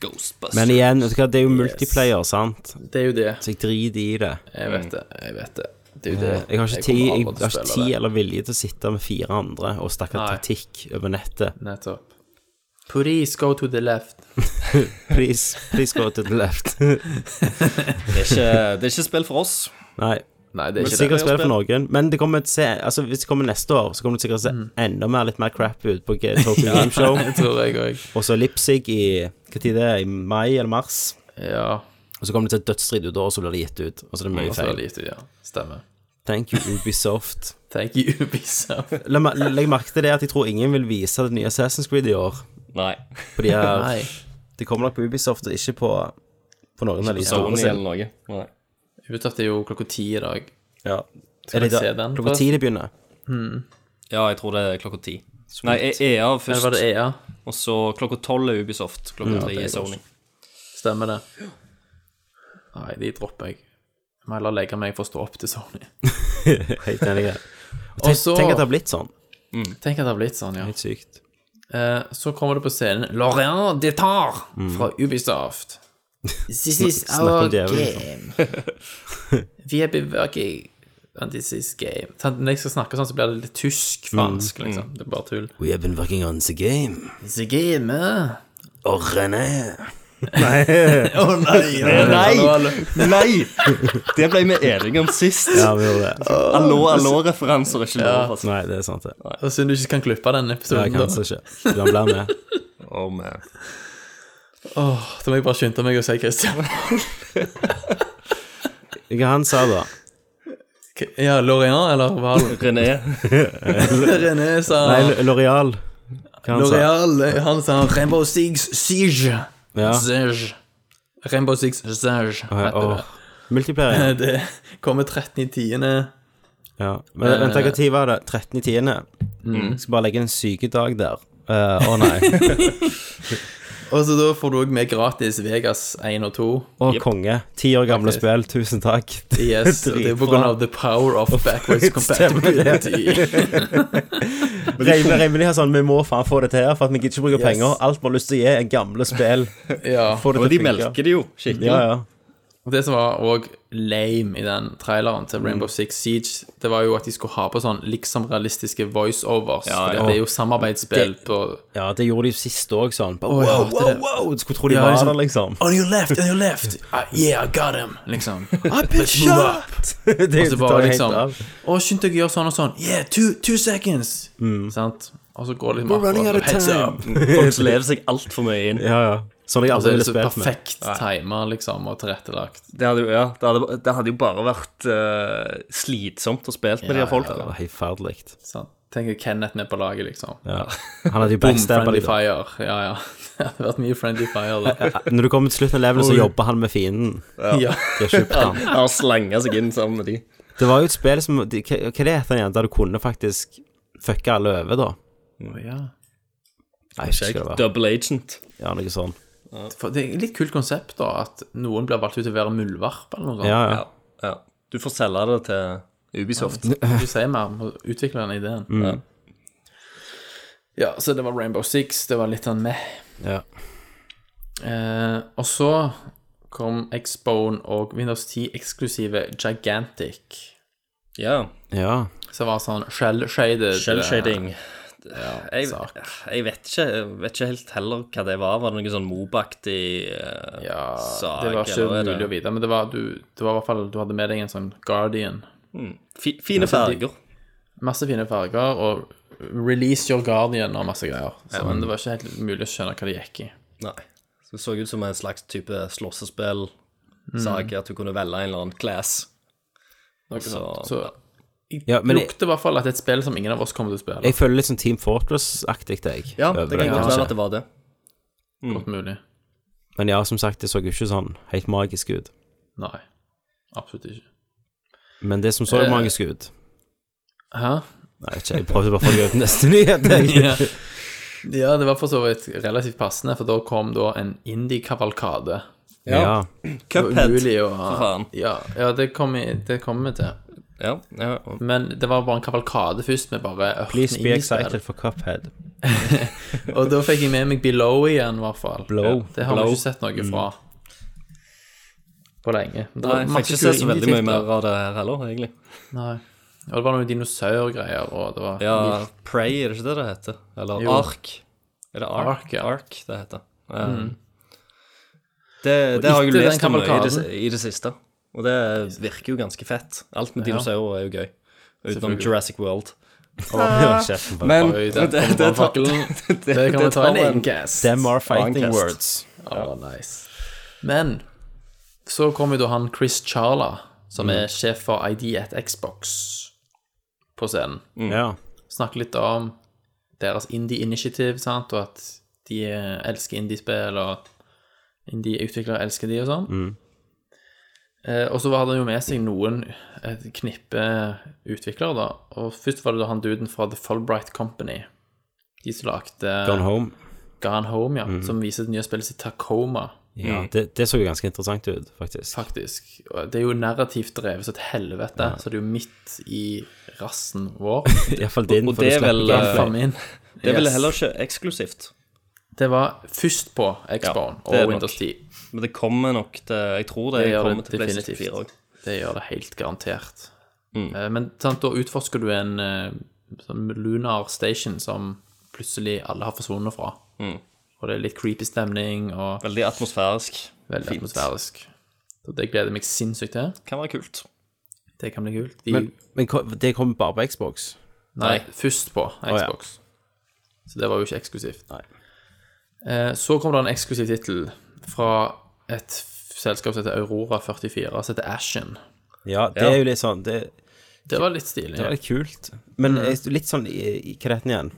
Ghostbusters. Men igjen, vet du hva, det er jo multiplayer, sant? Det er jo det. Så jeg driter i det. Jeg vet det. Jeg vet det. Det er jo Eh, det. Jeg har ikke kommer tid, jeg aldri til å har ikke spille tid eller vilje til å sitte med fire andre og snakke Nei. taktikk over nettet. det. Nettopp. Please go to the left. Please, please go to the left. Det er ikke, det er ikke spill for oss. Nei. Nei, det er Men ikke det. Mm. sikkert spill for noen, men det kommer til å se altså hvis det kommer neste år, så kommer det sikkert til å se enda mer litt mer crap ut på G- Tokyo Game Show. Det tror jeg òg. Og så Lipsig i hva tid det er, i mai eller mars. Ja. Og så kommer det til et dødsstrid ut, og så blir det gitt ut. Og så er det mye Og så er feil. det lite, ja. Stemmer. Thank you, Ubisoft. Thank you, Ubisoft. La meg legg merke til det at jeg tror ingen vil vise det nye Assassin's Creed i år. Nei. Fordi Nei. jeg, det kommer nok på Ubisoft, og ikke på, på noen av de store Sony sine. eller noe. Nei. Ubisoft er jo klokka ti i dag. Ja. Skal Er det vi da- se den Klokka først? ti det begynner. Ja, jeg tror det er klokka ti. Nei, EA Eller var først, det EA? og så klokka tolv er Ubisoft. Klokka tre det er er Sony. Stemmer det. Nei, de dropper jeg. Jeg må heller legge meg for å stå opp til Sony. Helt enig. Og Og tenk, så- tenk at det har blitt sånn. Tenk at det har blitt sånn, ja. Helt sykt. Eh, så kommer det på scenen Lorraine Detar fra Ubisoft. This is Mm. Snakk om our djevelen. liksom. game. Vi er bevirking on this is game. Tant- Når jeg skal snakke sånn, så blir det litt Mm. tysk-fransk, liksom. Det er bare tull. We have been working on the game. It's a game. eh? Og René. Å nei! Nei! Nei! Det ble vi enige om sist. Ja, vi gjorde det. Allo-allo-referanser er ikke lov. Altså. Nei, det er sant, det. Nei, Så synd du ikke kan klippe den jeg episoden. kan Da. så ikke. Du kan bli med. Oh, man. da må jeg bare skynde meg å si Christian. Hva han sa da? Ja, Lorraine eller Valen? René. René sa Nei, Loreal. Hva han sa? L'Oreal, han sa Rainbow Six Siege. Ja. Siege. Rainbow Six Siege. heter Åh. det. Multiplayer. ja. Det kommer 13 i tiende. Ja. Men vent, hva tid var det? 13 i 10. Mm. Skal bare legge en sykedag der. Eh, Å nei. Og så da får du òg med gratis Vegas 1 og 2. Å, konge. Ti år gamle spill, tusen takk. Yes, og det er på grunn av the power of backwards compatibility. Reimelig, reimelig har sånn, vi må faen få det til her, for at vi gidder ikke bruke penger. Alt vi har lyst til å gi, er gamle spill. ja. Få det Og til de å funke. melker det jo skikkelig. Ja, ja. Og det som var òg lame i den traileren til Rainbow Six Siege, det var jo at de skulle ha på sånn liksom realistiske voiceovers. Ja, for ja. Det er jo samarbeidsspill på ja, det gjorde de jo sist òg, sånn. Bare, Å, jeg wow, hater wow, det. wow! Du skulle tro de Ja, var liksom. der, liksom. On your left, on your left. Ah, yeah, I got him. Liksom. I've been det er Og jo så bare liksom av. Å, skynd deg å gjøre sånn og sånn. Yeah, two, two seconds. Sant? Og så går det liksom running out of heads time. up. Folk lever seg altfor mye inn. Ja, ja. Sånn jeg Og aldri så er ville Altså, det så spilt med. perfekt timer, liksom, og tilrettelagt. Det hadde, jo- ja, det hadde, det hadde jo bare vært eh, slitsomt å spille med de Ja, her folka. Det var helt fælt. Sant? Tenk at Kenneth med på laget, liksom. Ja. Han hadde jo Boom, backstabba friendly de. da. fire. Ja, ja. Det hadde vært mye friendly fire der. Når du kommer til slutten av levelet, så jobber han med fienden. Ja. De har kjøpt han. Har slanga seg inn sammen med de. Det var jo et spill som de, Hva hva er det heter igjen? Der du kunne faktisk fucke alle over, da? ja. Nei, jeg husker ikke hva det var. Double agent. Ja, noe sånn. For det er et litt kult konsept, da, at noen blir valgt ut til å være muldvarp eller noe sånt. Ja, ja. Ja. ja. Du får selge det til Ubisoft. Mm. Du sier mer om å utvikle den ideen. Ja. Ja, så det var Rainbow Six, det var litt sånn meh. ja. Eh, og så kom Xbone og Windows 10 eksklusive Gigantic. ja. ja. Som var sånn shell-shaded. Shellshading. Jeg, sak. jeg vet, ikke, jeg vet ikke helt heller hva det var. Var det noe sånn Mobaktig eh, Ja, sak? det var ikke eller er det- mulig å vite, men det var, du, det var i hvert fall du hadde med deg en sånn Guardian. Fi, fine farger. Masse fine farger, og Release Your Guardian og masse greier. Så, Men det var ikke helt mulig å skjønne hva det gikk i. Nei. Så det så ut som en slags type slåssespill. Sak at du kunne velge en eller annen class. Så, Så ja men jeg, lukter i hvert fall at det er et spill som ingen av oss kommer til å spille. jeg føler litt sånn Team Fortress-aktig, jeg. ja, over det kan godt kanskje. være at det var det. Godt mulig. Men ja, som sagt, det så jo ikke sånn helt magisk ut. Nei. Absolutt ikke. Men det som så Eh. magisk ut Hæ? Nei, jeg vet ikke, jeg prøvde bare å få deg opp neste nyhet. jeg. ja. ja, det var for så vidt relativt passende, for da kom da en indie-kavalkade Ja. Cuphead. Umulig å faen. Ja, ja det kommer vi- det kommer vi til. Ja, ja. og- Men det var bare en kavalkade først, med bare ørten Please be i excited spill. for Cuphead. Og da fikk jeg med meg Below igjen, i hvert fall. Blow. Det har Blow. vi ikke sett noe fra på lenge. Mm. Det Nei, var jeg masse fikk ikke se så kule veldig mye indie-titler. mer av det her heller, egentlig. Nei. Og det var noen dinosaurgreier, og det var Ja, Prey, er det ikke det det heter? Eller Jo. Ark. Er det Ark? Ark, Ark, ja. Mm. det heter. Eh, Det, det har jeg etter jo lest den om mye i det, kavalkaden- i det siste, og det virker jo ganske fett. Alt med dinosaurer er jo gøy, utenom Selvfølgelig. Jurassic World. Åh, kjeften på Men Oi, det, det, den kommer det, fra fakkelen. Det kan vi ta en egen cast. Them are fighting Downcast. words. Ja, nice. Men så kom jo da han Chris Charla, som er sjef for ID at Xbox, på scenen. Ja. Snakke litt om deres indie initiative, sant, og at de eh, elsker indie-spill, og indie-utviklere elsker de og sånn. Eh, og så hadde han jo med seg noen et knippe utviklere, da. Og først var det da han duden fra The Fulbright Company, de som lagde Gone Home. Gone Home, ja, Mhm. som viser det nye spillet sitt Tacoma. Ja, det, det så jo ganske interessant ut, faktisk. faktisk. Og Det er jo narrativt drevet som et helvete, så det er jo midt i rassen vår. Iallfall din, og for du det er slipper vel, I gameplay. hvert fall min. det er vel Yes. heller ikke eksklusivt. Det var først på Xbone Ja, det er nok. og Windows 10. Men det kommer nok til Jeg tror det, Det gjør kommer det til PlayStation definitivt. 4 òg. Det gjør det helt garantert. Mm. Eh, Men sant, da utforsker du en eh, sånn lunar station som plutselig alle har forsvunnet fra. Og det er litt creepy stemning og Mm. Veldig atmosfærisk. veldig atmosfærisk. Så det gleder jeg meg sinnssykt til. Kan være kult. Det kan bli kult. De, Men, men ko- det kommer bare på Xbox. Nei, Nei. først på ja. Xbox. Så det var jo ikke eksklusivt. Eh, så kom det en eksklusiv tittel fra et f- selskap som heter Aurora 44, som heter Ashen. Ja, det Ja. er jo litt sånn Det, Det var litt stilig. det er litt kult. Men jeg- litt sånn i- i- Hva heter den igjen?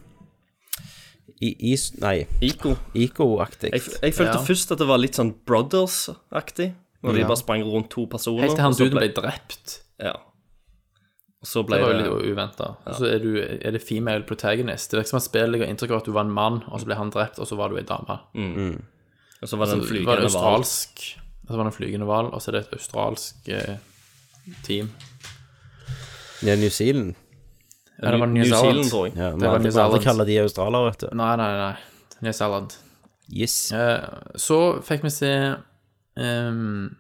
I, is, nei, Ico. Ico-aktig. Jeg, jeg følte Ja. først at det var litt sånn Brothers-aktig. Når de bare sprang rundt to personer. Helt til han og så duden ble drept. Ja. Og så ble Det det, var jo litt uventa. Og så er, du, er det female protagonist. Det virker som at spillet ga inntrykk av at du var en mann, og så ble han drept, og så var du ei dame. Og så var det en Så altså, var det flygende hval. australsk Og så var det en flygende hval, og så er det et australsk eh, team. Ja, New Zealand. Ja, det var New Zealand, Zealand. tror jeg. Ja, Det var men New det alle Zealand. kaller de australiere, vet du. Nei, nei, nei. New Zealand. Yes. Eh, Så fikk vi se ehm,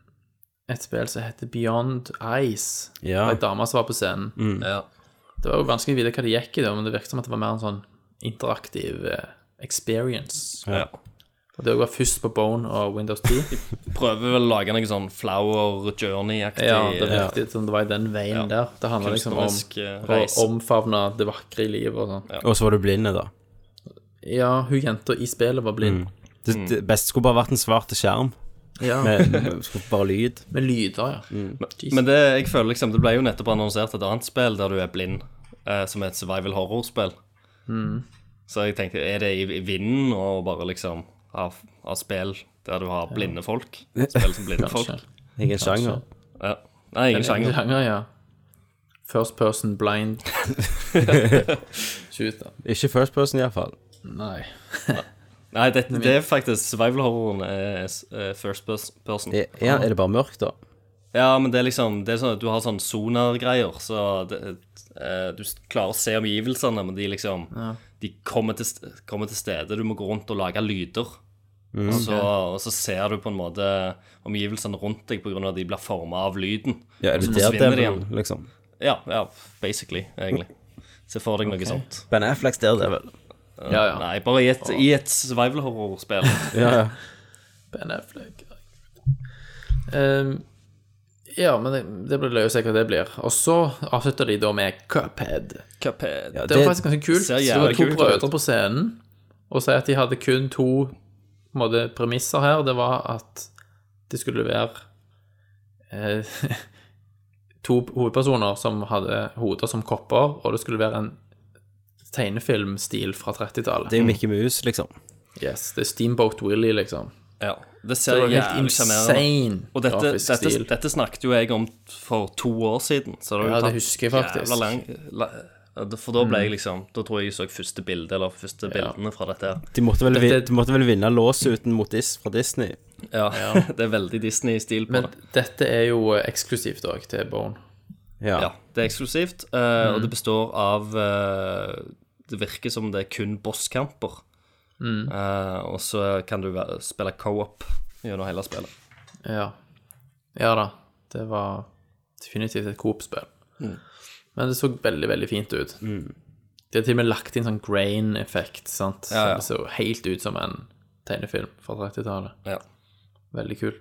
et spill som heter Beyond Ice. Det Ja. var ei dame som var på scenen. Ja. Det var jo vanskelig å vite hva det gikk i, det, men det virket som at det var mer en sånn interaktiv eh, experience. Ja. Og det var først på Bone og Windows 10. Prøver vel å lage noe sånn Flower Journey-aktig. ja, det virket som det var i den veien der. Det handla liksom om Kunstnerisk eh, å reise. omfavne det vakre i livet og sånn. Ja. Og så var du blinde, da. hun jenta i spillet var Mm. blind. Det, det beste skulle bare vært en svart skjerm. Ja, med, Med, med skulle Eh, bare lyd. lyder, ja. Jesus. Mm. Men det, jeg føler liksom, det ble jo nettopp annonsert et annet spill der du er blind, eh, som er et survival horror-spill. Mm. Så jeg tenkte, er det i, i vinden å bare liksom ha, ha spill der du har blinde folk? Spill som blinde folk? Kanskje. Ingen sjanger. Ja. Nei, ingen sjanger. Sjanger, ja. First person blind. Shooter. Ikke first person, iallfall. Nei. Nei, det, det er faktisk survival horroren er s- er first pers- person. Er, er er det bare mørkt, da? Ja, men det er liksom det er sånn, at Du har sånn sonar-greier, så det, eh, du s- klarer å se omgivelsene, men de liksom De kommer til, st- kommer til stedet. Du må gå rundt og lage lyder. Mm. Og, så, og så ser du på en måte omgivelsene rundt deg pga. at de blir forma av lyden. Ja, er Og du så der, forsvinner de Devil, liksom? Ja, ja, basically, egentlig. Se for deg noe sånt. Ben Afflecks der, Devil. Ja, ja. Nei, bare i et, i et survival horror-spill. Ja, ja. Ben Affleck. Ehm, ja, men det, det blir løst hva det blir. Og så avslutter de da med Cuphead. Cuphead. Ja, Det var faktisk ganske kult. ser Det var jævlig to kult ut. brødre på scenen og sier at de hadde kun to på en måte, premisser her. Det var at det skulle være eh, to hovedpersoner som hadde hoder som kopper, og det skulle være en tegnefilmstil fra 30-tallet. Det er jo Mickey Mouse, liksom. Yes, det er Steamboat Willy, liksom. Ja, det Det ser var helt jævlig sjarmerende ut. insane Og dette, grafisk dette, stil. dette snakket jo jeg om for to år siden. Så det har jo Ja, det tatt husker jeg faktisk. Mm. jævla lang, la, for da ble jeg liksom Da tror jeg jeg så første bilde, eller første bildene fra dette. her De måtte vel, vi- de Dette- måtte vel vinne låsuten mot Dis fra Disney. Ja, det er veldig Disney-stil på Men det. dette er jo eh, eksklusivt òg til Bone. Ja, det er eksklusivt, eh, Mm. og det består av eh, Det virker som det er kun bosskamper. Mm. Eh, og så kan du være, spille co-op gjennom hele spillet. Ja. ja da. Det var definitivt et Coop-spill. Mm. Men det så veldig, veldig fint ut. De har til og med lagt inn sånn grain-effekt, sant. Ja, ja. Så Det så helt ut som en tegnefilm fra 30-tallet. Ja. Veldig kul.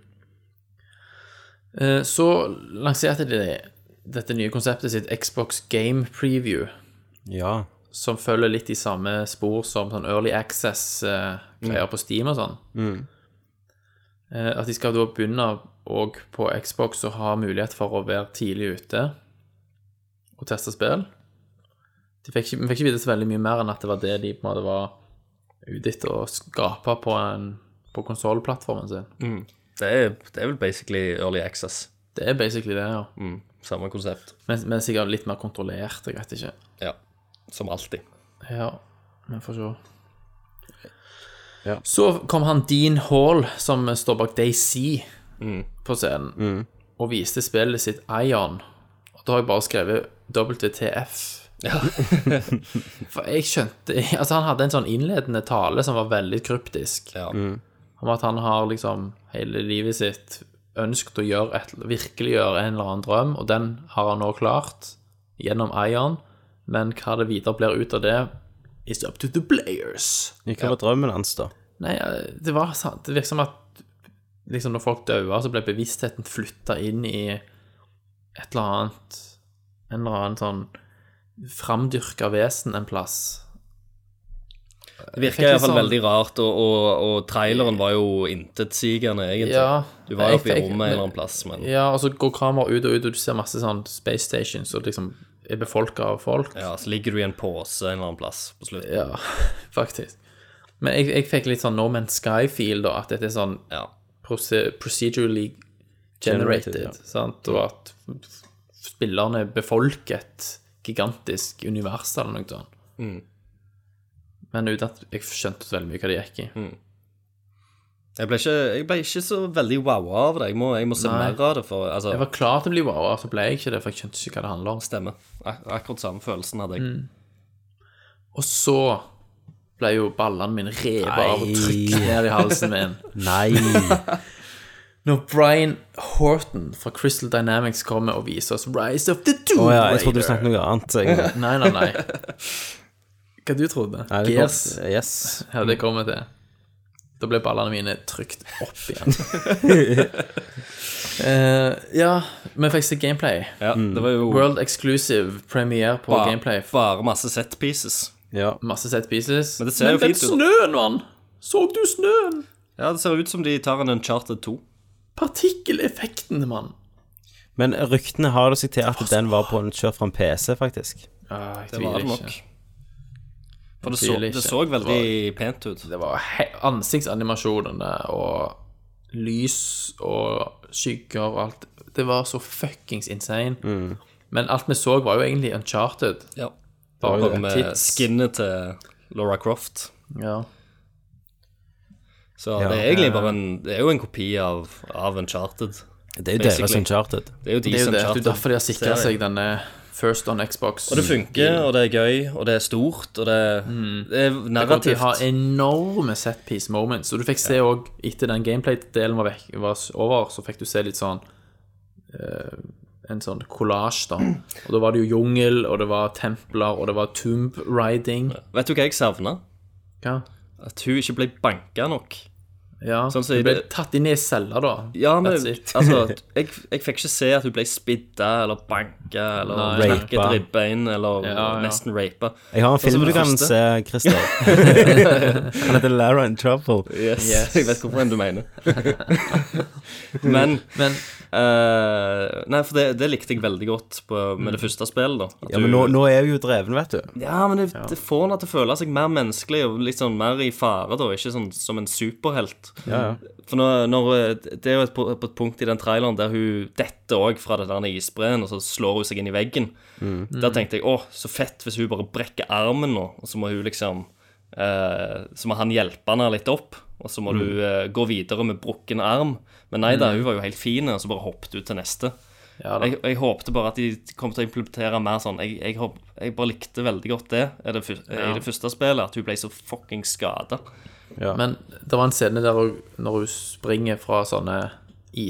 Eh, Så lanserte de dette nye konseptet sitt Xbox Game Preview, Ja. som følger litt i samme spor som sånn Early Access-greier på Steam og sånn. Eh, At de skal da begynne òg på Xbox å ha mulighet for å være tidlig ute og teste spill. De fikk ikke, vi fikk ikke vite så veldig mye mer enn at det var det de på en måte var ute etter å skape på, en- på konsollplattformen sin. Det, er, det er vel basically early access. Det er basically det, ja. Mm, samme konsept. Men, men sikkert litt mer kontrollert, jeg vet ikke. Ja, som alltid. Ja, vi får se. Så kom han Dean Hall, som står bak DayZ, på scenen, og viste spillet sitt Ion. Og da har jeg bare skrevet WTF. For jeg skjønte Altså, han hadde en sånn innledende tale som var veldig kryptisk. Ja. om at han har liksom hele livet sitt ønsket å gjøre et, virkelig gjøre en eller annen drøm, og den har han nå klart gjennom Ion, men hva det videre blir ut av det, is up to the players. Hva var drømmen hans, da? Nei, eh, det var sant. Det virker som at liksom når folk døde, så ble bevisstheten flytta inn i et eller annet En eller annen sånn framdyrka vesen en plass. Det virker Fikk litt iallfall sånn- veldig rart, og, og, og traileren var jo intetsigende, egentlig. Ja, du var jo oppe i jeg- jeg- rommet en eller annen plass, men ja, Ja, og så går kameraet ut og ut, og du ser masse sånn space stations og liksom er befolka av folk. så ligger du i en pose en eller annen plass på slutten. Ja, faktisk. Men jeg, jeg fikk litt sånn No Man's Sky-feel, da. At dette er sånn Ja. proce- procedurally generated. Generated, ja. sant? Og at f- spillerne befolker et gigantisk univers eller noe sånt. Men uten at jeg skjønte så veldig mye hva det gikk i. Jeg ble, ikke, jeg ble ikke så veldig wowa av det. Jeg må, jeg må se Nei. mer av det. for altså, Jeg var klar til å bli wow, så ble jeg ikke det, for jeg skjønte ikke hva det handler om. Stemmer. Ak akkurat samme følelsen hadde jeg. Mm. Og så ble jo ballene mine revet av og trykket ned i halsen min. Nei. Når Brian Horton fra Crystal Dynamics kommer og viser oss Rise of the Doom Å ja, Raider jeg trodde du snakket noe annet. Jeg. Nei, nei, nei. Hva du trodde? Nei, det Gears. går- Yes. Ja, det kommer til. Da ble ballene mine trykt opp igjen. Eh, ja, vi fikk se gameplay. Ja, Det var jo World exclusive premiere på ba- gameplay. bare masse set pieces. Ja. Masse set pieces. Men det ser jo den fint ut. snøen, mann! Så du snøen? Ja, Det ser ut som de tar en Uncharted 2. Partikkeleffektene, mann. Men ryktene har det seg til at den var på en kjørt fra en PC, faktisk. Ah, jeg Det var det tviler ikke. nok. For det så, Tviler det ikke. så Det veldig pent ut. Det var he ansiktsanimasjonene og lys og skygger og alt. Det var så fuckings insane. Men alt vi så, var jo egentlig uncharted. Ja. var jo Bare det. med Tits. eh, skinnet til Laura Croft. Ja. Så det er egentlig bare en Det er jo en kopi av, av Uncharted. Det er jo Basically. deres Uncharted. Det er jo de Det er jo som det. Det er Uncharted. jo derfor de har sikra serien. seg denne First on Xbox. Og det funker, og det er gøy, og det er stort, og det, det er Og de narrativt. har enorme setpiece moments. Og du fikk se òg, etter den gameplay-delen var, vekk- var s- over, så fikk du se litt sånn eh, En sånn collage, da. Og da var det jo jungel, og det var templer, og det var tomb riding. Vet du hva jeg savna? Ja. At hun ikke ble banka nok. Ja, Sånn som du i ble det- tatt inn i cella da. Ja, men That's it. altså, jeg, jeg fikk ikke se at hun ble spidda eller banka eller Nei. knakket Rapa. ribbein eller ja. nesten rapa. Jeg har en Sånn som film du den kan første. se, Christer. Han heter Lara in Trouble. Yes. Jeg vet hvorfor enn du mener. men Men eh, Nei, for det, det likte jeg veldig godt på, med det første spillet, da. At Mm. Ja, men du- nå, nå er vi jo dreven, vet du. Ja, men det, det får henne til å føle seg mer menneskelig og litt sånn mer i fare, da. Ikke sånn som en superhelt. For nå, når, eh, det er jo et, på på et punkt i den traileren der hun detter òg fra den der isbreen, og så slår hun seg inn i veggen. Der tenkte jeg å, så fett hvis hun bare brekker armen nå, og så må hun liksom Eh, så må han hjelpe henne litt opp, og så må du eh, gå videre med brukken arm. Men nei da, hun var jo helt fin, og så bare hoppet hun til neste. Ja, da. Jeg, jeg håpte bare at de kom til å implementere mer sånn. Jeg, jeg, håp, jeg bare likte veldig godt det i det, fyr- i det første spillet, at hun ble så fucking skada. Men det var en scene der hun, når hun springer fra sånne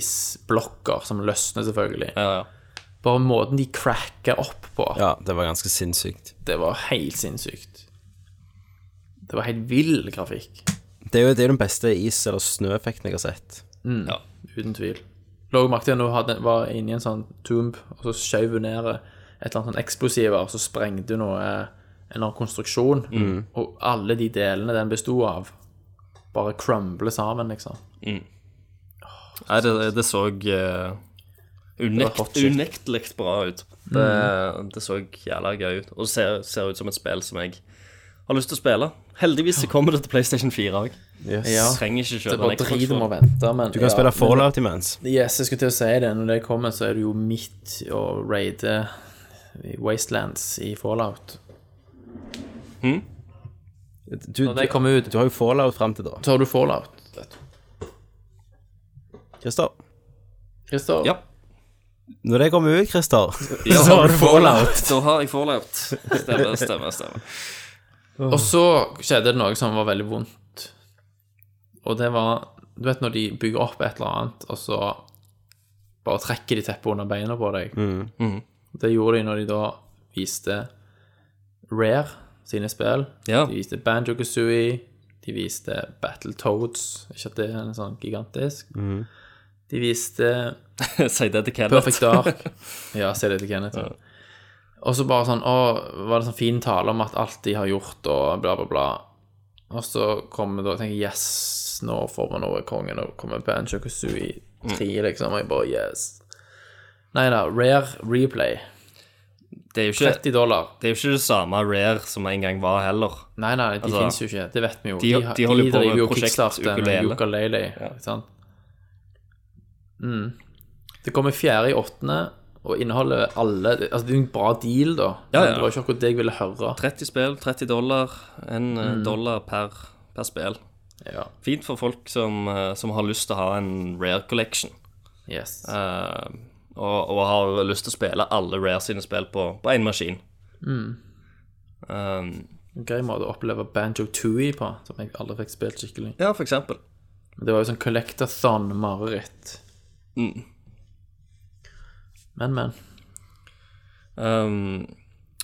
isblokker som løsner, selvfølgelig. Ja, ja. Bare måten de cracker opp på, Ja, det var ganske sinnssykt. det var helt sinnssykt. Det var helt vill grafikk, Det er jo, det er jo den beste is- eller snøeffekten jeg har sett. Mm. uten tvil. Lå merke til når hun hadde, var inne i en sånn tomb, og så skjøv hun ned et eller annet sånn eksplosiver, og så sprengte hun noe, eh, en eller annen konstruksjon, og alle de delene den bestod av, bare crumbler sammen, liksom. Nei, det, det så eh, unekt, hot shit. unektelig bra ut. Mm. Det, det så jævla gøy ut. Og det ser, ser ut som et spill som jeg har lyst til å spille. Heldigvis så kommer det til PlayStation 4 òg. Ja. Trenger ikke Det er kjøpe bare en Xbox drit om å One. vente, men Du kan spille Fallout imens. Yes, jeg skulle til å si det. Når det kommer, så er du jo midt i å raide i Wastelands i Fallout. Du, Når det kommer ut, du har jo Fallout fram til da. så har du Fallout. Christer. Christer? Ja. Når det kommer ut, Christer Ja, Så har du Fallout. Da har jeg Fallout. Stemmer, stemmer. stemmer. Og så skjedde det noe som var veldig vondt. Og det var Du vet når de bygger opp et eller annet, og så bare trekker de teppet under beina på deg. Det gjorde de når de da viste Rare sine spill. Ja. De viste Banjo Kazooie. De viste Battle Toads. Ikke at det er en sånn gigantisk. De viste Si det til Kenneth. Perfect Dark. Ja, se det til Kenneth. ja. Og så bare sånn Å, var det sånn fin tale om at alt de har gjort, og bla, bla, bla. Og så kommer da og tenker jeg, Yes, nå får vi noe konge. Nå kommer Banjo Kazooie 3, liksom. Og jeg bare Yes. Nei da. Rare Replay. Det er jo ikke 30 dollar. Det er jo ikke det samme Rare som en gang var heller. Nei, nei, de Altså, finnes jo ikke. Det vet vi jo. de- de holder på med driver jo prosjekt kickstarter med ukulele. Ukulele. Ikke sant? Mm. Det kommer fjerde i åttende, og inneholder alle Altså, det er jo en bra deal, da. Ja, ja. Det var ikke akkurat det jeg ville høre. 30 spill, 30 dollar. En eh, dollar per, per spill. Ja. Fint for folk som, eh, som har lyst til å ha en Rare collection. Yes. eh, og, og har lyst til å spille alle Rare sine spill på på én maskin. Mm. Eh, En grei måte å oppleve Banjo Tooie på, som jeg aldri fikk spilt skikkelig. ja, for eksempel. Det var jo sånn collectathon-mareritt. Mm. Men, men. Eh,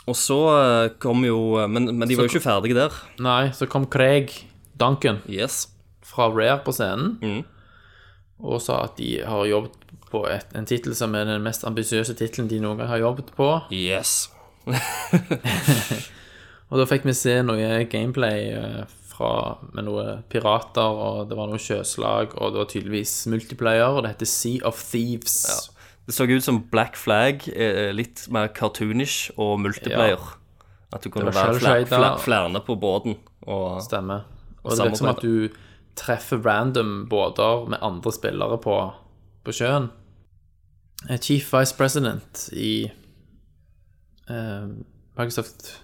og så eh, kom jo Men, men de var jo ikke ferdige der. Nei, så kom Craig Duncan Yes. fra Rare på scenen og sa at de har jobbet på et, en tittel som er den mest ambisiøse tittelen de noen gang har jobbet på. Yes. Og da fikk vi se noe gameplay eh, fra, med noen pirater, og det var noe sjøslag, og det var tydeligvis multiplayer, og det heter Sea of Thieves. Det så ut som Black Flag, eh, litt mer cartoonish og multiplayer. At du kunne Det var være flere selvshader. fler, flere på båten. Og, Stemmer. Og det samarbeid. virker som at du treffer random båter med andre spillere på, på sjøen. Eh, Chief Vice President i eh, Microsoft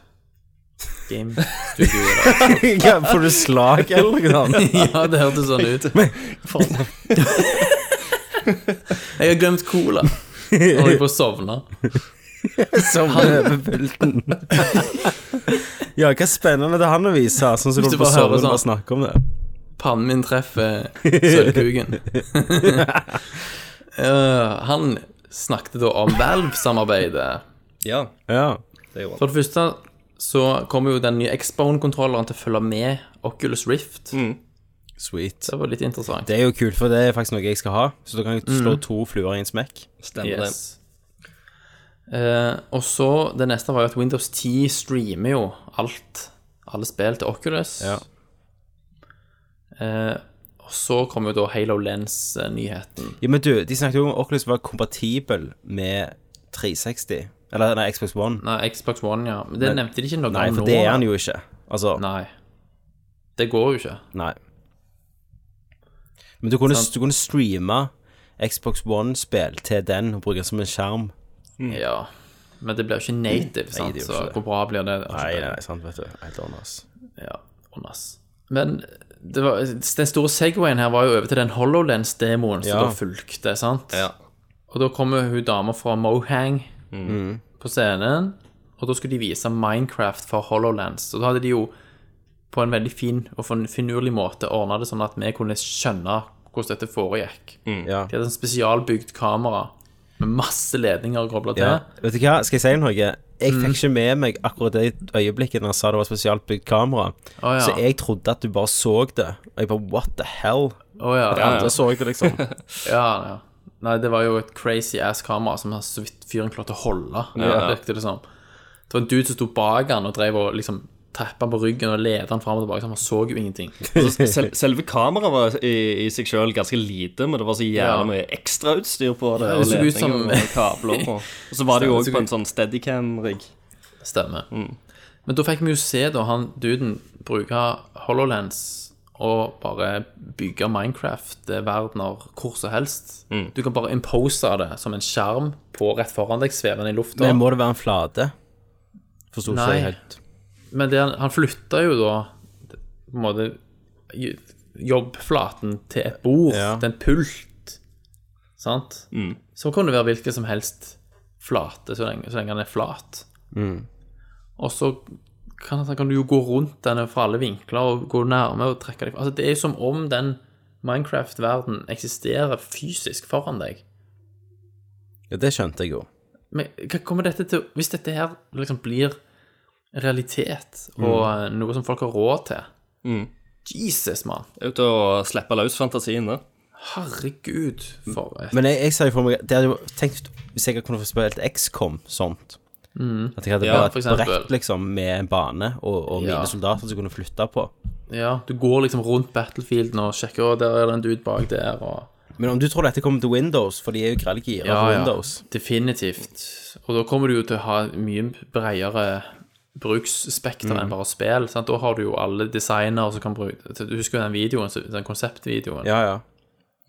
Game Studio. eller- Ja, Får du slag eller noe sånt? ja, det hørtes sånn ut. Jeg har glemt cola. Jeg holder på å sovne. Som over pulten. Ja, hva spennende det er han å vise, her, sånn som Hvis du du på bare hører Sørlandet bare sånn. snakker om det. Pannen min treffer sølvkuken. Eh, han snakket da om Valve-samarbeidet. ja, Ja. det gjorde han. For det første så kommer jo den nye Xbone-kontrolleren til å følge med Oculus Rift. Sweet. Det var litt interessant. Mm. Det er jo kult, for det er faktisk noe jeg skal ha. Så da kan jeg Mm. slå to fluer i en smekk. Stemmer det. Yes. Eh, og så det neste var jo at Windows 10 streamer jo alt. Alle spill til Oculus. Ja. Eh, og så kom jo da Halo Lens-nyheten. Ja, men du, de snakket jo om Oculus var kompatibel med 360. Eller nei, Xbox One. Nei, Xbox One, ja. Men det Men- nevnte de ikke noe Nei, om for nå. det er han jo ikke. Altså, Nei. Det går jo ikke. nei. Men du kunne, du kunne streame Xbox One-spill til den og bruke den som en skjerm. Ja. Men det blir jo ikke native, sant? Mm. det er jo så ikke det. hvor bra blir det? Nei, nei, sant, vet du. Helt annet, ass. Ja, å, nei, ass. Men det var, den store segwayen her var jo over til den HoloLens-demoen som Ja. da fulgte, sant? Ja. Og da kommer hun dama fra Mohang på scenen, og da skulle de vise Minecraft for HoloLens. Og da hadde de jo på en veldig fin og fin- finurlig måte ordna det sånn at vi kunne skjønne hvordan dette foregikk. Ja. De hadde en spesialbygd kamera med masse ledninger kobla til. Ja. Vet du hva, skal jeg si noe? Mm. Jeg fikk ikke med meg akkurat det øyeblikket når han sa det var spesialt bygd kamera. Å, ja. Så jeg trodde at du bare så det. Og jeg bare what the hell? Å, ja. Andre så det, liksom. Ja, ja. Nei, det var jo et crazy ass kamera som så vidt fyren klarte å holde. ja. Virket det som. Det var en dude som sto bak han og drev og liksom tappa han på ryggen og ledet han fram og tilbake. Så han så jo ingenting. Altså, sel selve kameraet var i, i seg sjøl ganske lite, men det var så jævla Ja. mye ekstrautstyr på det. det Og så ut som- ledninger og kabler. Og, og så var det jo Det òg så på en sånn Steadicam-rigg. Stemmer. Men da fikk vi jo se da han duden bruke HoloLens og bare bygge eh, Minecraft-verdener hvor som helst. Du kan bare impose det som en skjerm på rett foran deg, svevende i lufta. Men må det være en flate? Forsto ikke Nei. jeg helt. Men det, han- han flytta jo da på en måte j- jobbflaten til et bord, Ja. til en pult, sant? Så kan det være hvilken som helst flate, så lenge, så lenge han er flat. Og så kan, kan du jo gå rundt denne fra alle vinkler og gå nærme og trekke deg Altså, det er jo som om den Minecraft-verden eksisterer fysisk foran deg. Ja, det skjønte jeg jo. Men hva kommer dette til Hvis dette her liksom blir realitet og Mm. eh, noe som folk har råd til Jesus, mann. Det er jo til å slippe løs fantasien, det. Herregud, for et Men jeg, jeg ser jo for meg Det hadde jo tenkt Hvis jeg kunne få spilt XCOM sånt At jeg hadde Ja, bare for et eksempel. brett liksom med en bane og, og Ja. mine soldater som kunne flytte på. Ja, du går liksom rundt battlefielden og sjekker Å, der er det en dude bak der, og Men om du tror dette kommer til Windows, for de er jo grelle gira på Windows Definitivt. Og da kommer du jo til å ha mye bredere bruksspekter Mm. enn bare spill. Sant? Da har du jo alle designere som kan bruke Du husker jo den videoen, så- den konseptvideoen? Ja, ja.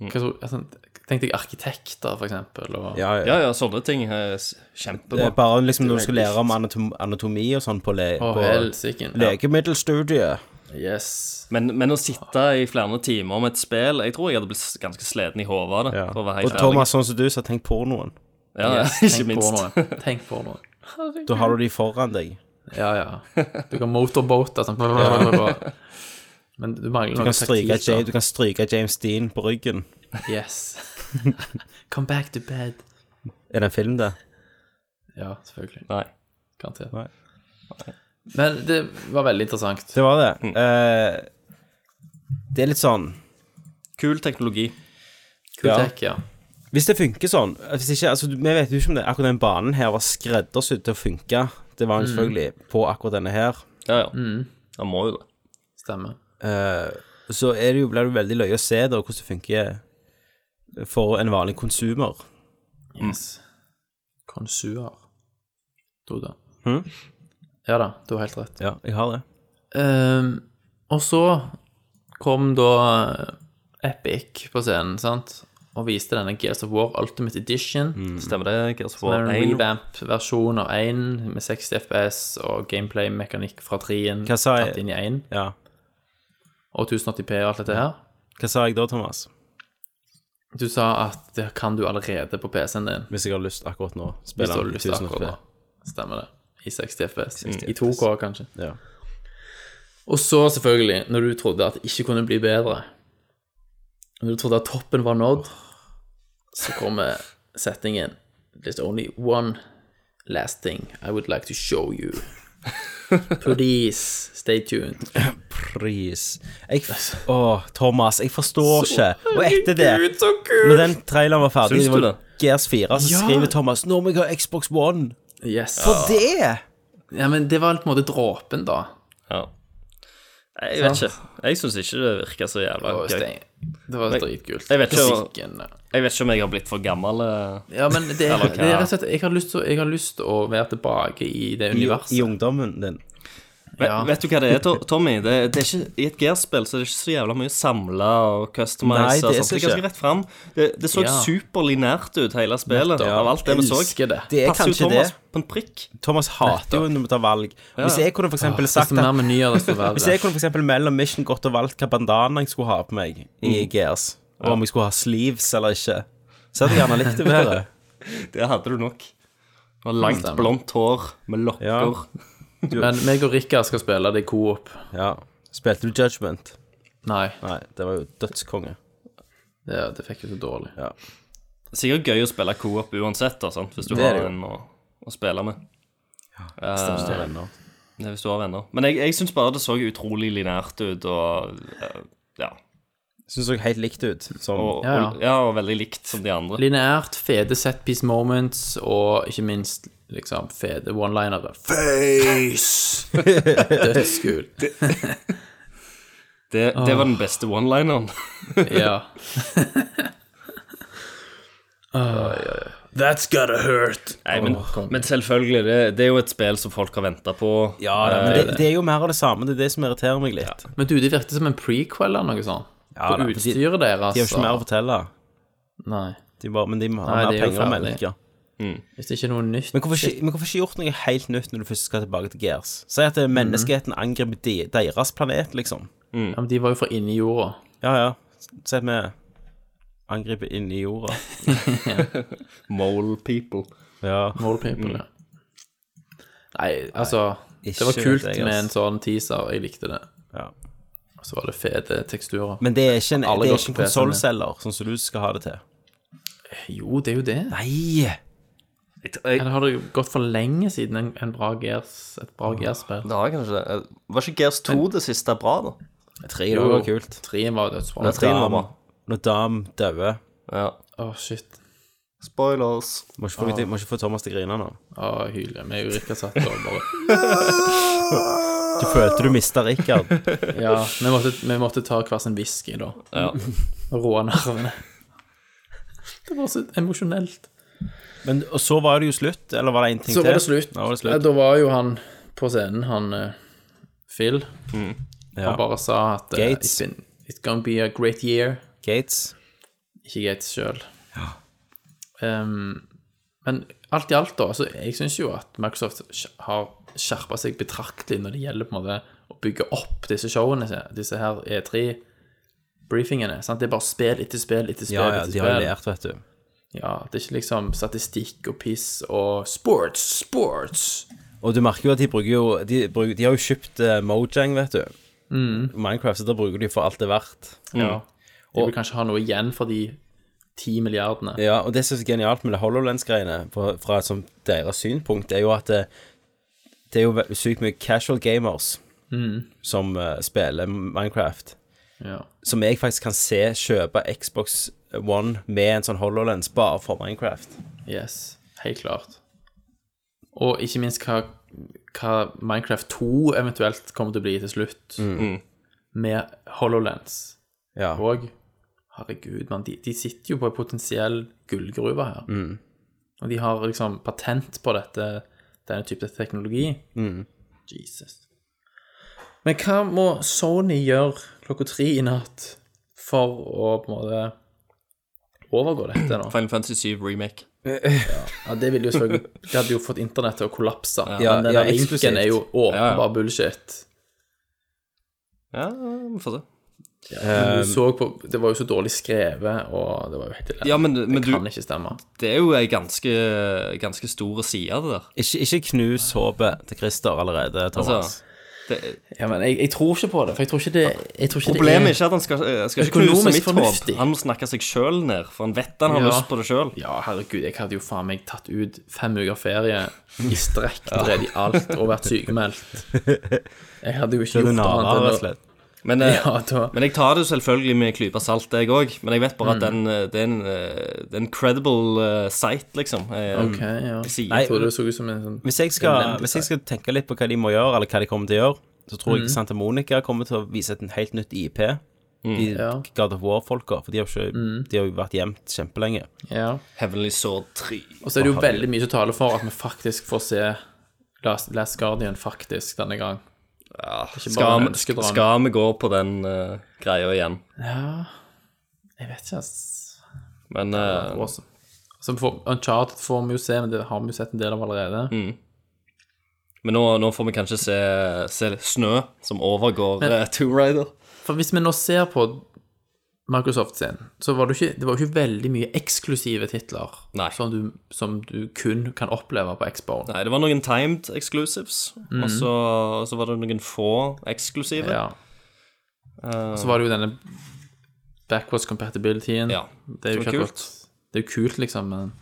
Hva så- altså, Tenk deg arkitekter, for eksempel. Og, ja, ja. Ja, ja, sånne ting er s- Det er kjempebra. bare liksom når du skal lære om anatom anatomi og sånn på, le Å, på helsike. Ja. legemiddelstudiet. Yes. Men, men å sitte i flere timer med et spill Jeg tror jeg hadde blitt s- ganske sliten i hodet av det. Ja. For å være Og helt Thomas, sånn som du, så tenk pornoen. ærlig. Ja, ja, ikke Tenk på minst. noe. Tenk på noe. Da har du de foran deg. Ja, ja. Du kan motorboate sånn. Men du mangler Du noe kan stryke, taktikk, da. James, du kan stryke James Dean på ryggen. Yes. Come back to bed. Er det en film, det? Ja, selvfølgelig. Nei. Garantert. Nei. Men det var veldig interessant. Det var det. Mm. Eh, det er litt sånn Kul teknologi. ja. Kultek, ja. Hvis det funker sånn hvis ikke, altså, Vi vet jo ikke om det akkurat den banen her var skreddersydd til å funke. Det Mm. var den selvfølgelig på akkurat denne her. Ja, ja. Han må jo det. Stemmer. Eh, så er det jo, blir det jo veldig løye å se da, hvordan det funker for en vanlig konsumer. Mm. Yes. Konsuar. Du da. Hm? Ja da, du har helt rett. Ja, jeg har det. Ehm, og så kom da Epic på scenen, sant? Og viste denne Gears of War Ultimate Edition. Stemmer det, Gears of Det War er en 1? revamp-versjon av 1 med 60 FPS og gameplay-mekanikk fra 3-en Hva sa jeg? tatt inn i 1. Ja. Og 1080p og alt dette her. Hva sa jeg da, Thomas? Du sa at det kan du allerede på PC-en din. Hvis jeg har lyst akkurat nå. Hvis du Spiller har den lyst til 1000 akkurat nå. kroner. Stemmer det. I 60 FPS. Mm. I 2K, kanskje. Ja. Og så, selvfølgelig, når du trodde at det ikke kunne bli bedre Når du trodde at toppen var nådd, så kommer settingen There's only one last thing I would like to show you. Please, stay tuned. Pris. Jeg, f- åh, Thomas, jeg forstår ikke. Og etter det, Gud, så kult! når den traileren var ferdig, Syns det du var Gears 4, så Ja. skriver Thomas Nå må jeg ha Xbox One. Yes. For det! Ja, men det var på en måte dråpen, da. Ja. Jeg vet ikke. Jeg syns ikke det virker så jævla Og gøy. Stein. Det var dritkult. jeg vet ikke- Musikken, eh. ja. Jeg vet ikke om jeg har blitt for gammel. eh. Ja, men det, det er Eller hva? rett og slett Jeg har lyst til, å- jeg har lyst til å være tilbake i I, det universet. I ungdommen din. Ja. Vet du hva det er, To- Tommy? Det, det er ikke, I et Gear-spill så er det ikke så jævla mye samla og customize. Nei, det er og sånt. så det er ganske ikke. rett frem. Det, det så Ja. superlinært ut, hele spillet. Nettopp. Av alt det vi så. Elsker det. Det er Passer jo kanskje Thomas det. på en prikk. Thomas hater jo når vi tar valg. Hvis jeg kunne for eksempel sagt Desto mer at menyer, desto verre. Hvis jeg kunne for eksempel mellom mission gått og valgt hva bandana jeg skulle ha på meg i Gears, og om jeg skulle ha sleeves eller ikke, så hadde jeg gjerne likt det bedre. Det hadde du nok. Og langt, blondt hår med lokker. Ja. Men meg og Rikard skal spille det i coop. Ja. Spilte du Judgment? Nei, Nei, det var jo dødskonge. det, det fikk jeg så dårlig. Sikkert gøy å spille co-op uansett, da, sant? hvis du Det er har det jo. en å, å spille med. Hvis det er ennå. Det er hvis du har venner. Men jeg, jeg syns bare det så utrolig linært ut, og eh, ja. Syns jeg helt likt ut. Som Og, Ja, ja. og, ja, og veldig likt som de andre. Lineært, fede setpiece moments, og ikke minst liksom fede one-linere. Face! Dødskult. Det, det var den beste one-lineren. Ja. That's gotta hurt. Nei, men, men selvfølgelig, det, det er jo et spill som folk har venta på. ja, ja, men det, det er jo mer av det samme. Det er det som irriterer meg litt. Men du, det virket som en prequel eller noe sånt. Ja, da, på for de- utstyret deres. altså. De har jo ikke mer å fortelle. Nei. De bare, men de må ha Nei, mer det er jo penger å ferdig. melke. Hvis det ikke er noe nytt Men hvorfor, ikke, men hvorfor ikke gjort noe helt nytt når du først skal tilbake til Gears? Si at eh, menneskeheten angriper de, deres planet, liksom. ja, men De var jo fra inni jorda. Ja, ja. Si at vi angriper inni jorda. Mole people. Ja. Mole people, Mm. ja. Nei, altså Det var Ikke kult vet jeg, med ass. en sånn teaser. Jeg likte det. Ja. Og så var det fede teksturer. Men det er ikke en, Alle det er går ikke en på PC-en min. konsollselger, sånn som du skal ha det til. jo, det er jo det. Nei! Jeg, jeg, Eller har det jo gått for lenge siden en, en bra Gears, et bra Gears-spill? det har jeg kanskje det. Var ikke Gears 2 det siste bra, da? Tre år var kult. Trien var jo dødsbra. Tre var bra. Når Dam dauer Ja. Å, shit. Spoilers. Må ikke få- må ikke få Thomas til å grine nå. Å, hyggelig. Vi er jo rikka satt og bare Du følte du mista Richard. Ja, vi måtte, vi måtte ta hver sin whisky, da. Ja. Og roe nervene. Det var så emosjonelt. Men, og så var det jo slutt, eller var det en ting Så til? var det slutt. Da var det Ja, slutt. da var jo han på scenen, han eh, Phil. Mm. Ja. Han bare sa at eh, Gates. it's, been, it's gonna be a great year. Gates. Ikke Gates sjøl. Um, men alt i alt, da, så jeg syns jo at Microsoft skj- har skjerpa seg betraktelig når det gjelder på en måte å bygge opp disse showene, se- disse her E3-briefingene. sant? Det er bare spill etter spill etter spill. Ja, ja, etter de har spill. jo lært, vet du. Ja, det er ikke liksom statistikk og piss og sports, sports. Og du merker jo at de bruker jo De, bruker, de har jo kjøpt eh, Mojang, vet du. Mm. Minecraft, så da bruker de for alt det er verdt. Ja. De vil kanskje ha noe igjen for de ti milliardene. Ja, og det som er så genialt med det HoloLens-greiene, fra, fra et sånt deres synspunkt, er jo at det, det er jo ve- sykt mye casual gamers som eh, spiller Minecraft, Ja. som jeg faktisk kan se kjøpe Xbox One med en sånn HoloLens bare for Minecraft. Yes, helt klart. Og ikke minst hva, hva Minecraft 2 eventuelt kommer til å bli til slutt, med HoloLens. Ja. Og herregud, mann, de, de sitter jo på en potensiell gullgruve her. Og de har liksom patent på dette, denne type teknologi. Jesus. Men hva må Sony gjøre klokka tre i natt for å på en måte overgå dette nå? Final Fantasy 7 remake. Ja, det ville jo selvfølgelig Det hadde jo fått internett til å kollapse. Ja, men den ja, der linken eksklusivt. er jo åpenbar Ja, ja. bullshit. Ja, vi får se. Men du så på, det var jo så dårlig skrevet, og det var jo helt elendig. Ja, men, men det du, kan ikke stemme. det er jo ei ganske, ganske stor side av det der. Ikke, ikke knus håpet til Christer allerede, Thomas. Altså, det, Ja, men jeg, jeg tror ikke på det, for jeg tror ikke det, jeg tror ikke problemet er det ikke at han skal, eh, skal ikke Økonomisk knuse mitt håp. fornuftig. Han må snakke seg sjøl ned, for han vet han har Ja. lyst på det sjøl. Ja, herregud, jeg hadde jo faen meg tatt ut fem uker ferie i strekk, drevet i alt og vært sykemeldt. Jeg hadde jo ikke Du gjort narrer, annet rett og enn å slett. Men, eh, Ja, da- men jeg tar det jo selvfølgelig med en klype salt, jeg òg. Men jeg vet bare at Mm. den, eh, det er en, eh, det er en credible eh, site, liksom. Eh, Ok, ja. sier- Jeg trodde det så ut som en sånn Hvis jeg, skal, hvis jeg skal tenke litt på hva de må gjøre, eller hva de kommer til å gjøre, så tror Mhm. jeg Santa Monica kommer til å vise et helt nytt IP. De Mm. Ja. Mm. God of War-folka, for de har, ikke, de har jo vært gjemt kjempelenge. Ja. Heavenly Sword 3. Og så er det jo veldig mye som taler for at vi faktisk får se Last, Last Guardian faktisk denne gang. Ja, bare skal, vi, menneskedrama. skal vi gå på den eh, greia igjen? Ja Jeg vet ikke, ass. Men eh, Awesome. Som for, Uncharted får vi jo se, men det har vi jo sett en del av allerede. Mm. Men nå, nå får vi kanskje se, se snø som overgår eh, Tomb Raider. For hvis vi nå ser på Microsoft sin, så var det, jo ikke, det var jo ikke veldig mye eksklusive titler Nei. Som, du, som du kun kan oppleve på Xbox. Nei, det var noen timed exclusives, og så, og så var det noen få eksklusive. Ja. Og så var det jo denne backwards compatibilityen. Ja, det er jo som er ikke kult. kult. Det er jo kult, liksom, men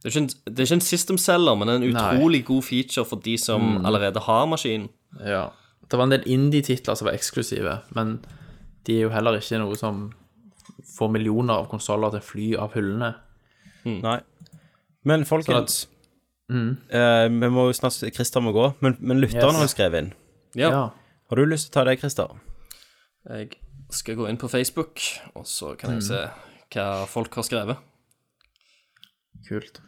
Det, er ikke en, det er ikke en system seller, men en utrolig god feature for de som allerede har maskinen. ja. Det var en del indie-titler som var eksklusive, men de er jo heller ikke noe som får millioner av konsoller til å fly av hyllene. Mm. Nei. Men Sånn folkens eh, Vi må jo snart Christer må gå, men, men lytteren Yes. har jo skrevet inn. Ja. Ja. Har du lyst til å ta det, Christer? Jeg skal gå inn på Facebook, og så kan jeg se hva folk har skrevet. Kult.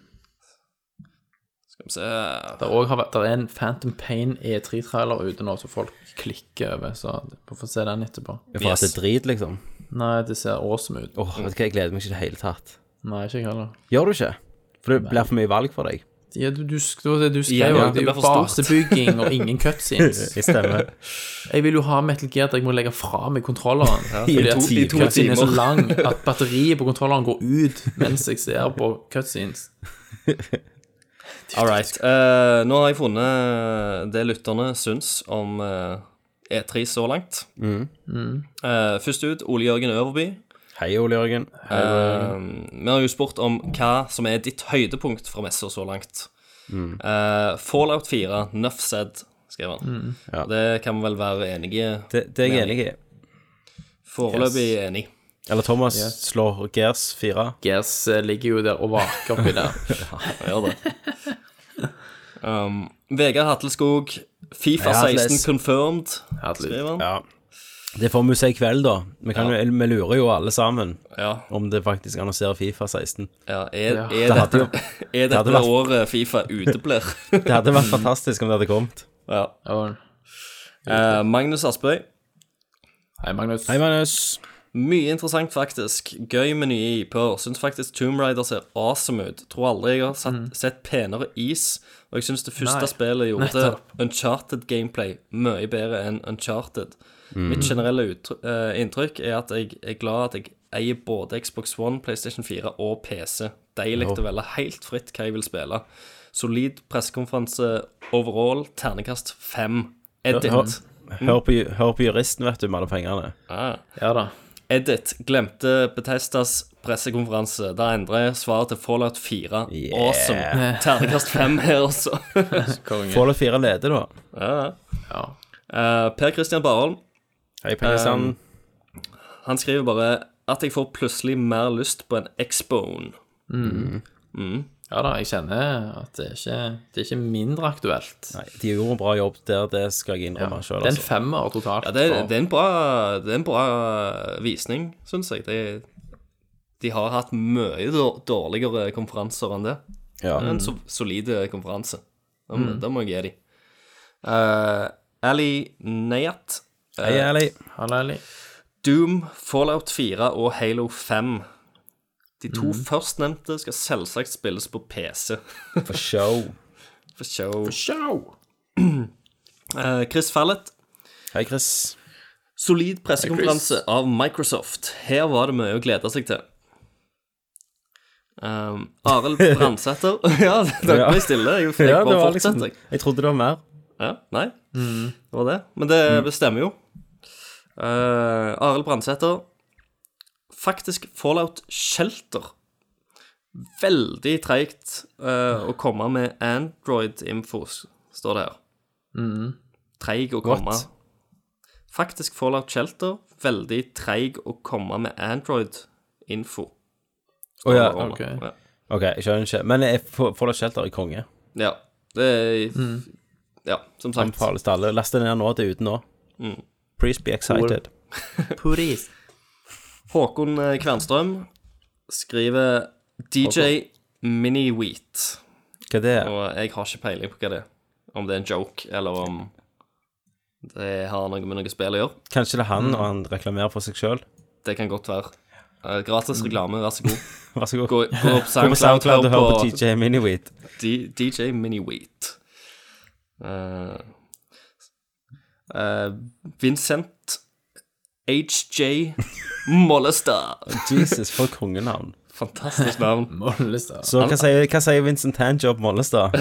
Skal vi se Det, er også, har vært- det er en Phantom Pain E3-trailer ute nå som folk klikker over, så vi får se den etterpå. For Yes. at det er drit, liksom? Nei, det ser awesome ut. Åh, vet du hva, Jeg gleder meg ikke i det hele tatt. Nei, ikke jeg heller. Gjør du ikke? For det blir for mye valg for deg. Ja, du, du, sk- det var det du skrev Ja, jo ja, det det er jo ble for stort. basebygging og ingen cutscenes. Jeg stemmer. Jeg vil jo ha Metal Gear at jeg må legge fra meg kontrolleren. fordi at to- i to cutscenen er så timer. lang at batteriet på kontrolleren går ut mens jeg ser på cutscenes. All right. Eh, nå har jeg funnet det lytterne syns om eh, E3 så langt. Eh, først ut Ole Jørgen Øverby. Hei, Ole Jørgen. Eh, vi har jo spurt om hva som er ditt høydepunkt fra messa så langt. Eh, Fallout 4, Nuff said, skrev han. Ja. Det kan vi vel være enige Det, det er jeg enig i. Foreløpig enig. Eller Thomas slår Gears 4. Gears eh, ligger jo der og vaker oppi der. Gjør det. Um, Vegard Hatleskog, Fifa Hatles. 16 confirmed, Herlig. skriver han. Ja. Det får vi jo se i kveld, da. Vi, kan, jo- vi lurer jo alle sammen Ja. om det faktisk annonserer Fifa 16. Ja, er, er Ja. Det dette, hadde jo- er dette hadde vært- året Fifa uteblir? Det hadde vært fantastisk om det hadde kommet. ja. Og, Eh, Magnus Aspøy. hei, Magnus. Hei, Magnus. Mye interessant, faktisk. Gøy med nye IP-er. Syns faktisk Tomb Raider ser awesome ut. Tror aldri jeg har sett, sett penere is. Og jeg syns det første Mhm. Nei. spillet gjorde Nettopp. Uncharted-gameplay mye bedre enn Uncharted. Mitt generelle utr- eh, inntrykk er at jeg er glad at jeg eier både Xbox One, PlayStation 4 og PC. Deilig å velge helt fritt hva jeg vil spille. Solid pressekonferanse overall. Ternekast fem. Hør, Edit. hør, på, ju- hør på juristen, vet du, med alle pengene. Ah. Ja da. Edit glemte Betestas pressekonferanse. Der endrer jeg svaret til Fallout 4. Awesome. Ternekast 5 her altså. også. Konge. Fallout 4 leder, da. Ja. Eh, per Christian Barholm Hei, Pengesand. han skriver bare at jeg får plutselig mer lyst på en X-bone. ja da, jeg kjenner at det er ikke, det er ikke mindre aktuelt. Nei, de gjorde en bra jobb der, det skal jeg innrømme Det selv er en Altså. femmer totalt. Ja, det, er- det, er en bra, det er en bra visning, syns jeg. Det, de har hatt mye dår- dårligere konferanser enn det. Ja. Det er en so solid konferanse. Da, må- da må jeg gi dem. Eh, Ali Neyat Hei, Ali. Hallo, Eli. Doom, Fallout 4 og Halo 5. De to førstnevnte skal selvsagt spilles på PC. For show. For show. For show. Chris Fallet. Hei, Chris. Solid pressekonferanse av Microsoft. Her var det mye å glede seg til. Um, Arild Brandsæter Ja, dere Ja. liksom- ble stille. Jeg, jeg bare fortsetter. jeg. Jeg trodde det var mer. Ja, nei. Mm. Det var det. Men det bestemmer jo. Uh, Arild Brandsæter. Faktisk Fallout Shelter. Veldig treigt eh, å komme med Android-info, s- står det her. Mm. Treig å komme Faktisk Fallout Shelter. Veldig treig å komme med Android-info. Å ja, Kommer. ok. Ja. OK, jeg skjønner ikke. Men jeg får- Fallout Shelter er konge. ja. Det er Mm. Ja, som sagt. Anbefales til alle. Last det ned nå, det er ute nå. Mm. Please be excited. Puris. Håkon eh, Kvernstrøm skriver DJ Mini-Wheat. Hva er det? Og jeg har ikke peiling på hva det er. Om det er en joke, eller om Det har noe med noe spill å gjøre. Kanskje det er han, og han reklamerer for seg sjøl. Det kan godt være. Eh, gratis reklame, vær så god. Vær så god. Gå, gå på Gå på SoundCloud SoundCloud og hør på på TJ Miniweed. D DJ Mini-Wheat. Eh, eh, Vincent HJ Mollestad. Jesus, for et kongenavn. Fantastisk navn. Mollestad. Så hva sier, hva sier Vincent Tanjob Mollestad?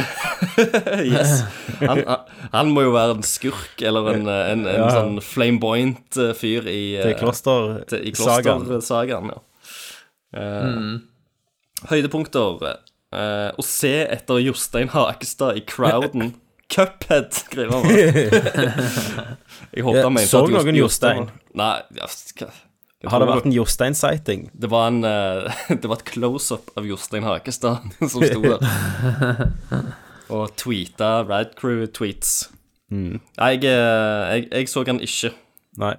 Yes. Han, han- han må jo være en skurk eller en, eh, en, en Ja. sånn flamboyant eh, fyr i, eh, Det er kloster til- i sagaen. klostersagaen. Ja. Eh, Høydepunkter. eh, å se etter Jostein Hakestad i crowden. Cuphead, skriver han. Jeg håper Ja, han mente så at Jost- noen Jostein? Nei, ja, hva- jeg Har det tror vært en Jostein-sighting? det var, en, eh, det var et close-up av Jostein Hakestad som sto der. Og tweeta Rad Crew-tweets. Jeg, eh, jeg, jeg så han ikke, Nei.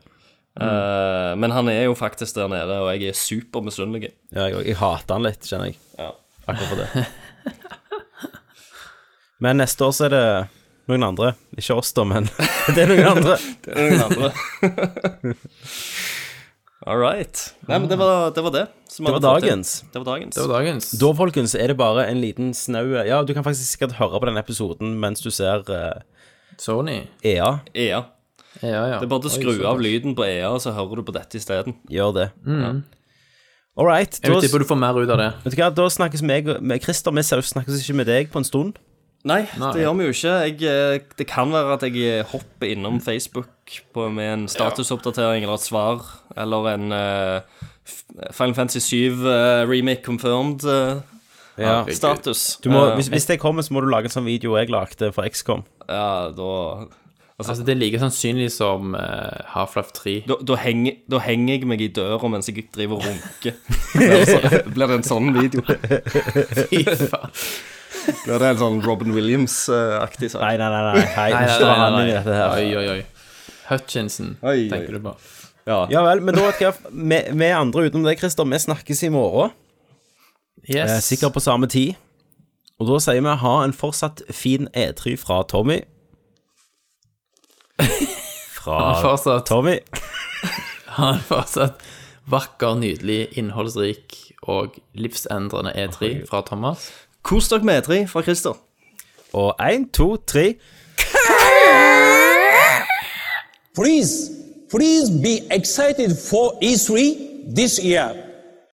eh, men han er jo faktisk der nede, og jeg er supermisunnelig. Ja, jeg, jeg hater han litt, kjenner jeg. Ja. Akkurat for det. Men neste år så er det noen andre. Ikke oss, da, men det er noen andre. Ingen andre. All right. Nei, men det var det. Var det, som Det hadde var fått til. dagens. Det var dagens. Det var dagens. Da, folkens, er det bare en liten snau Ja, du kan faktisk sikkert høre på den episoden mens du ser eh, E Sony. EA. EA. Ja, ja. E Det er bare å skru av lyden på EA, så hører du på dette isteden. Gjør det. All right. Da, Jeg tipper du får mer ut av det. vet du hva, da snakkes meg og- med Christer. Vi ser- snakkes ikke med deg på en stund. Nei, Nei. det gjør vi jo ikke. Jeg, eh, det kan være at jeg eh, hopper innom Facebook på, med en statusoppdatering eller et svar, eller en eh, F- Final Fantasy 7 eh, remake confirmed eh, Ja. status. Du må, Eh, hvis, hvis det kommer, så må du lage en sånn video jeg lagde for XCOM. Ja, da Altså, det er like sannsynlig som eh, Half-Life 3. da, da, henger, da henger jeg meg i døra mens jeg driver og runker. Blir det så- Blir det en sånn video? Fy faen. Blir det en sånn Robin Williams-aktig sak? Nei, nei, nei. nei, hei, Nei, ikke nei, dra han nei, inn i nei. dette her. Oi, oi, oi. Hutchinson, Oi, oi. tenker du på. Ja vel, men da vet jeg vi, vi andre utenom det, Christer, vi snakkes i morgen. Eh, Yes. sikkert på samme tid. Og da sier vi ha en fortsatt fin E3 fra Tommy. Ha Fra en fortsatt, Tommy. ha en fortsatt vakker, nydelig, innholdsrik og livsendrende E3 fra Thomas. Kos dere med E3 fra Christer. Og én, to, tre. Please, please be excited for E3 E this year.